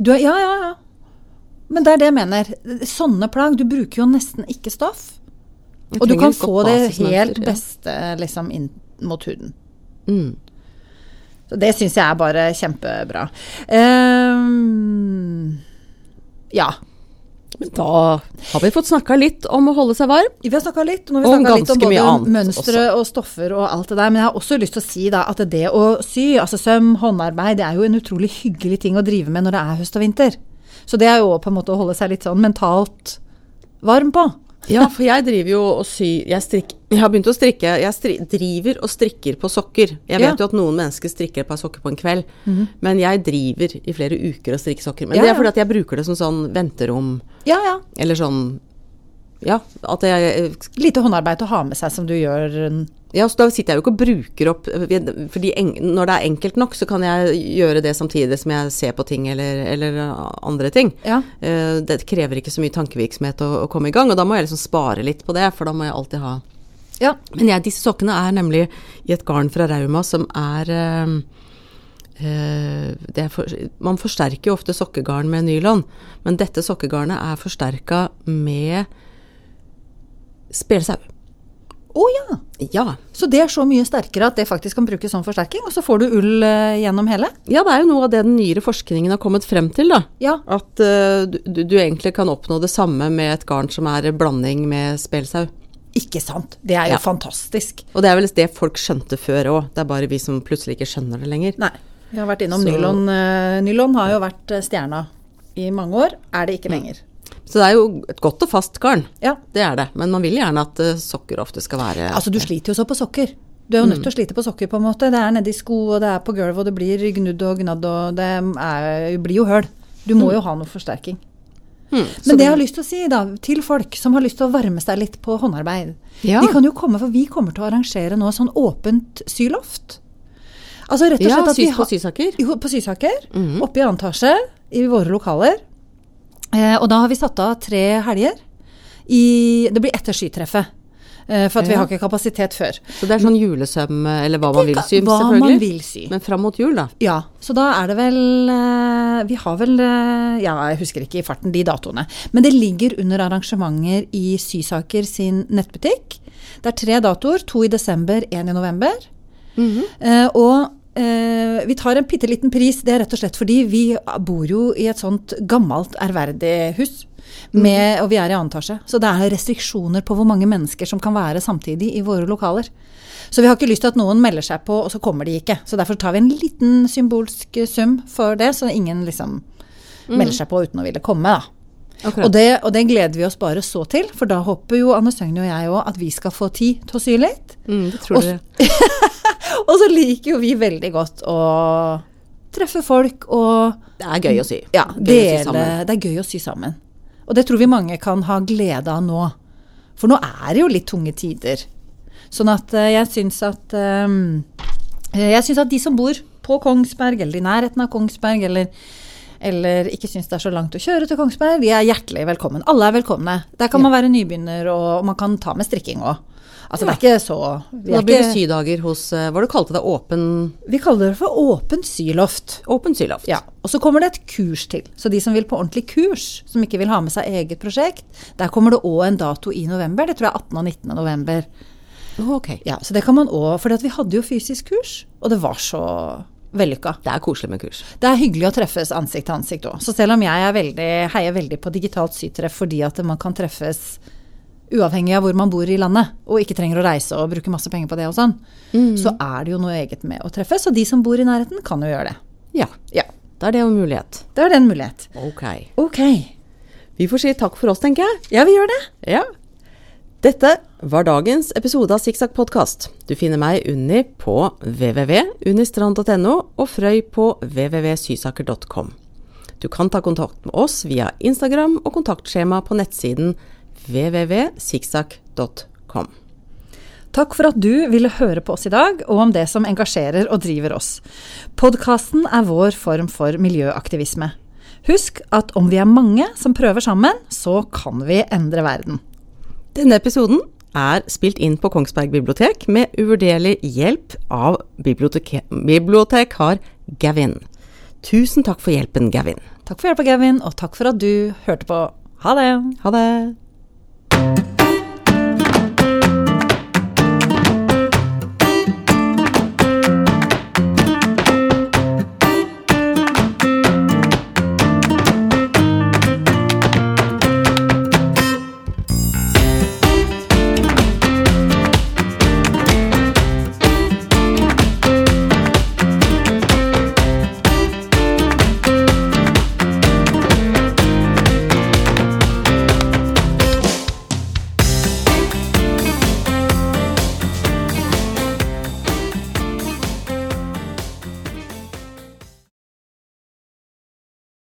Speaker 2: Du er, ja, ja, ja. Men det er det jeg mener. Sånne plagg, du bruker jo nesten ikke stoff.
Speaker 1: Jeg
Speaker 2: Og du
Speaker 1: trenger
Speaker 2: kan
Speaker 1: et godt
Speaker 2: få det
Speaker 1: basismønster,
Speaker 2: helt
Speaker 1: ja.
Speaker 2: beste liksom inn mot huden.
Speaker 1: Mm.
Speaker 2: Så det syns jeg er bare kjempebra. Ehm, ja.
Speaker 1: Men da har vi fått snakka litt om å holde seg varm.
Speaker 2: Vi har snakka litt, nå har vi
Speaker 1: Og om
Speaker 2: snakket litt om
Speaker 1: ganske mye
Speaker 2: både
Speaker 1: annet
Speaker 2: mønstre og stoffer og alt det der, men jeg har også lyst til å si da at det å sy, altså søm, håndarbeid, det er jo en utrolig hyggelig ting å drive med når det er høst og vinter. Så det er jo på en måte å holde seg litt sånn mentalt varm på.
Speaker 1: Ja, for jeg driver jo og syr Jeg, strikk, jeg har begynt å strikke. Jeg stri, driver og strikker på sokker. Jeg vet
Speaker 2: Ja. Mhm.
Speaker 1: jo at noen mennesker strikker et par sokker på en kveld, men jeg driver i flere uker og strikker sokker. Men
Speaker 2: Ja,
Speaker 1: det er
Speaker 2: ja.
Speaker 1: fordi at jeg bruker det som sånn venterom,
Speaker 2: Ja, ja.
Speaker 1: eller sånn Ja, at jeg
Speaker 2: Lite håndarbeid å ha med seg som du gjør eh,
Speaker 1: Ja, så da sitter jeg jo ikke og bruker opp fordi en, Når det er enkelt nok, så kan jeg gjøre det samtidig som jeg ser på ting eller, eller andre ting.
Speaker 2: Ja.
Speaker 1: Eh, Det krever ikke så mye tankevirksomhet å, å komme i gang, og da må jeg liksom spare litt på det, for da må jeg alltid ha
Speaker 2: Ja.
Speaker 1: Men jeg, disse sokkene er nemlig i et garn fra Rauma som er eh, eh, det er for, Man forsterker jo ofte sokkegarn med nylon, men dette sokkegarnet er forsterka med spelsau.
Speaker 2: Å ja.
Speaker 1: Ja.
Speaker 2: Så det er så mye sterkere at det faktisk kan brukes som forsterking, og så får du ull eh, gjennom hele?
Speaker 1: Ja, det er jo noe av det den nyere forskningen har kommet frem til, da.
Speaker 2: Ja.
Speaker 1: At eh, du, du- du egentlig kan oppnå det samme med et garn som er blanding med spelsau.
Speaker 2: Ikke sant? Det er jo
Speaker 1: Ja.
Speaker 2: fantastisk.
Speaker 1: Og det er vel det folk skjønte før òg, det er bare vi som plutselig ikke skjønner det lenger.
Speaker 2: Nei. Vi har vært innom
Speaker 1: Så-
Speaker 2: nylon. eh, Nylon har jo vært eh, stjerna i mange år, er det ikke lenger.
Speaker 1: Så det er jo et godt og fast garn.
Speaker 2: Ja.
Speaker 1: Det er det, men man vil gjerne at eh, sokker ofte skal være
Speaker 2: Altså, du sliter jo så på sokker. Du er jo nødt til å
Speaker 1: Mm.
Speaker 2: slite på sokker, på en måte. Det er nedi sko, og det er på gulvet, og det blir gnudd og gnadd, og det er, blir jo høl. Du
Speaker 1: Mm.
Speaker 2: må jo ha noe forsterking. Men det jeg har lyst til å si da, til folk som har lyst til å varme seg litt på håndarbeid
Speaker 1: Ja.
Speaker 2: De kan jo komme, for vi kommer til å arrangere nå sånn åpent syloft. Altså rett og
Speaker 1: Ja,
Speaker 2: slett at vi
Speaker 1: sys på
Speaker 2: har-
Speaker 1: sysaker.
Speaker 2: Jo, på Sysaker. Oppe i andre etasje i våre lokaler. Eh, og da har vi satt av tre helger. I, det blir etter skytreffet. Eh, for at vi
Speaker 1: Ja.
Speaker 2: har ikke kapasitet før.
Speaker 1: Så det er sånn julesøm, eh, eller hva man vil
Speaker 2: Tenk
Speaker 1: sy,
Speaker 2: hva
Speaker 1: selvfølgelig.
Speaker 2: man vil sy.
Speaker 1: Men fram mot jul, da.
Speaker 2: Ja, så da er det vel eh, Vi har vel eh, Ja, jeg husker ikke i farten de datoene. Men det ligger under arrangementer i Sysaker sin nettbutikk. Det er tre datoer. To i desember, én i november. Eh, og eh, vi tar en bitte liten pris. Det er rett og slett fordi vi bor jo i et sånt gammelt, ærverdig hus. Med, og vi er i annen etasje. Så det er restriksjoner på hvor mange mennesker som kan være samtidig i våre lokaler. Så vi har ikke lyst til at noen melder seg på, og så kommer de ikke. Så derfor tar vi en liten symbolsk eh, sum for det, så ingen liksom melder seg på uten å ville komme, da.
Speaker 1: Akkurat.
Speaker 2: Og det, og det gleder vi oss bare så til, for da håper jo Anne Søgne og jeg òg at vi skal få tid til å sy litt.
Speaker 1: Mm, det tror
Speaker 2: Og-
Speaker 1: dere.
Speaker 2: Og så liker jo vi veldig godt å treffe folk og
Speaker 1: Det er gøy å sy.
Speaker 2: ja,
Speaker 1: Gøy å sy
Speaker 2: dele
Speaker 1: sammen.
Speaker 2: Det er gøy å sy sammen. Og det tror vi mange kan ha glede av nå. For nå er det jo litt tunge tider. Sånn at eh, jeg syns at ehm, eh, Jeg syns at de som bor på Kongsberg, eller i nærheten av Kongsberg, eller, eller ikke syns det er så langt å kjøre til Kongsberg, de er hjertelig velkommen. Alle er velkomne. Der kan man være nybegynner, og, og man kan ta med strikking òg. Altså, det er ikke så vi,
Speaker 1: Da
Speaker 2: er
Speaker 1: blir det
Speaker 2: ikke,
Speaker 1: sydager hos eh, Hva du kalte det? Åpen,
Speaker 2: vi kaller det for åpent syloft.
Speaker 1: åpen syloft?
Speaker 2: Ja, Og så kommer det et kurs til. Så de som vil på ordentlig kurs, som ikke vil ha med seg eget prosjekt, der kommer det òg en dato i november. Det tror jeg er 18. og 19. november.
Speaker 1: Å, Ok.
Speaker 2: Ja, så det kan man òg, for vi hadde jo fysisk kurs, og det var så vellykka.
Speaker 1: Det er koselig med kurs.
Speaker 2: Det er hyggelig å treffes ansikt til ansikt òg. Så selv om jeg er veldig, heier veldig på digitalt sytreff fordi at man kan treffes uavhengig av hvor man bor i landet, og ikke trenger å reise og bruke masse penger på det og sånn, så er det jo noe eget med å treffes. Og de som bor i nærheten, kan jo gjøre det.
Speaker 1: Ja.
Speaker 2: Ja,
Speaker 1: Da er det jo en mulighet.
Speaker 2: det er det en mulighet.
Speaker 1: Ok.
Speaker 2: Ok.
Speaker 1: Vi får si takk for oss, tenker jeg.
Speaker 2: Ja, vi gjør det.
Speaker 1: Ja. Dette var dagens episode av Sikksakk podkast. Du finner meg, Unni, på www.unistrand.no og Frøy på www.sysaker.com. Du kan ta kontakt med oss via Instagram og kontaktskjema på nettsiden www.sikksakk.com.
Speaker 2: Takk for at du ville høre på oss i dag, og om det som engasjerer og driver oss. Podkasten er vår form for miljøaktivisme. Husk at om vi er mange som prøver sammen, så kan vi endre verden.
Speaker 1: Denne episoden er spilt inn på Kongsberg bibliotek med uvurderlig hjelp av biblioteke- bibliotekar Gavin. Tusen takk for hjelpen, Gavin.
Speaker 2: Takk for hjelpa, Gavin, og takk for at du hørte på. Ha det!
Speaker 1: Ha det.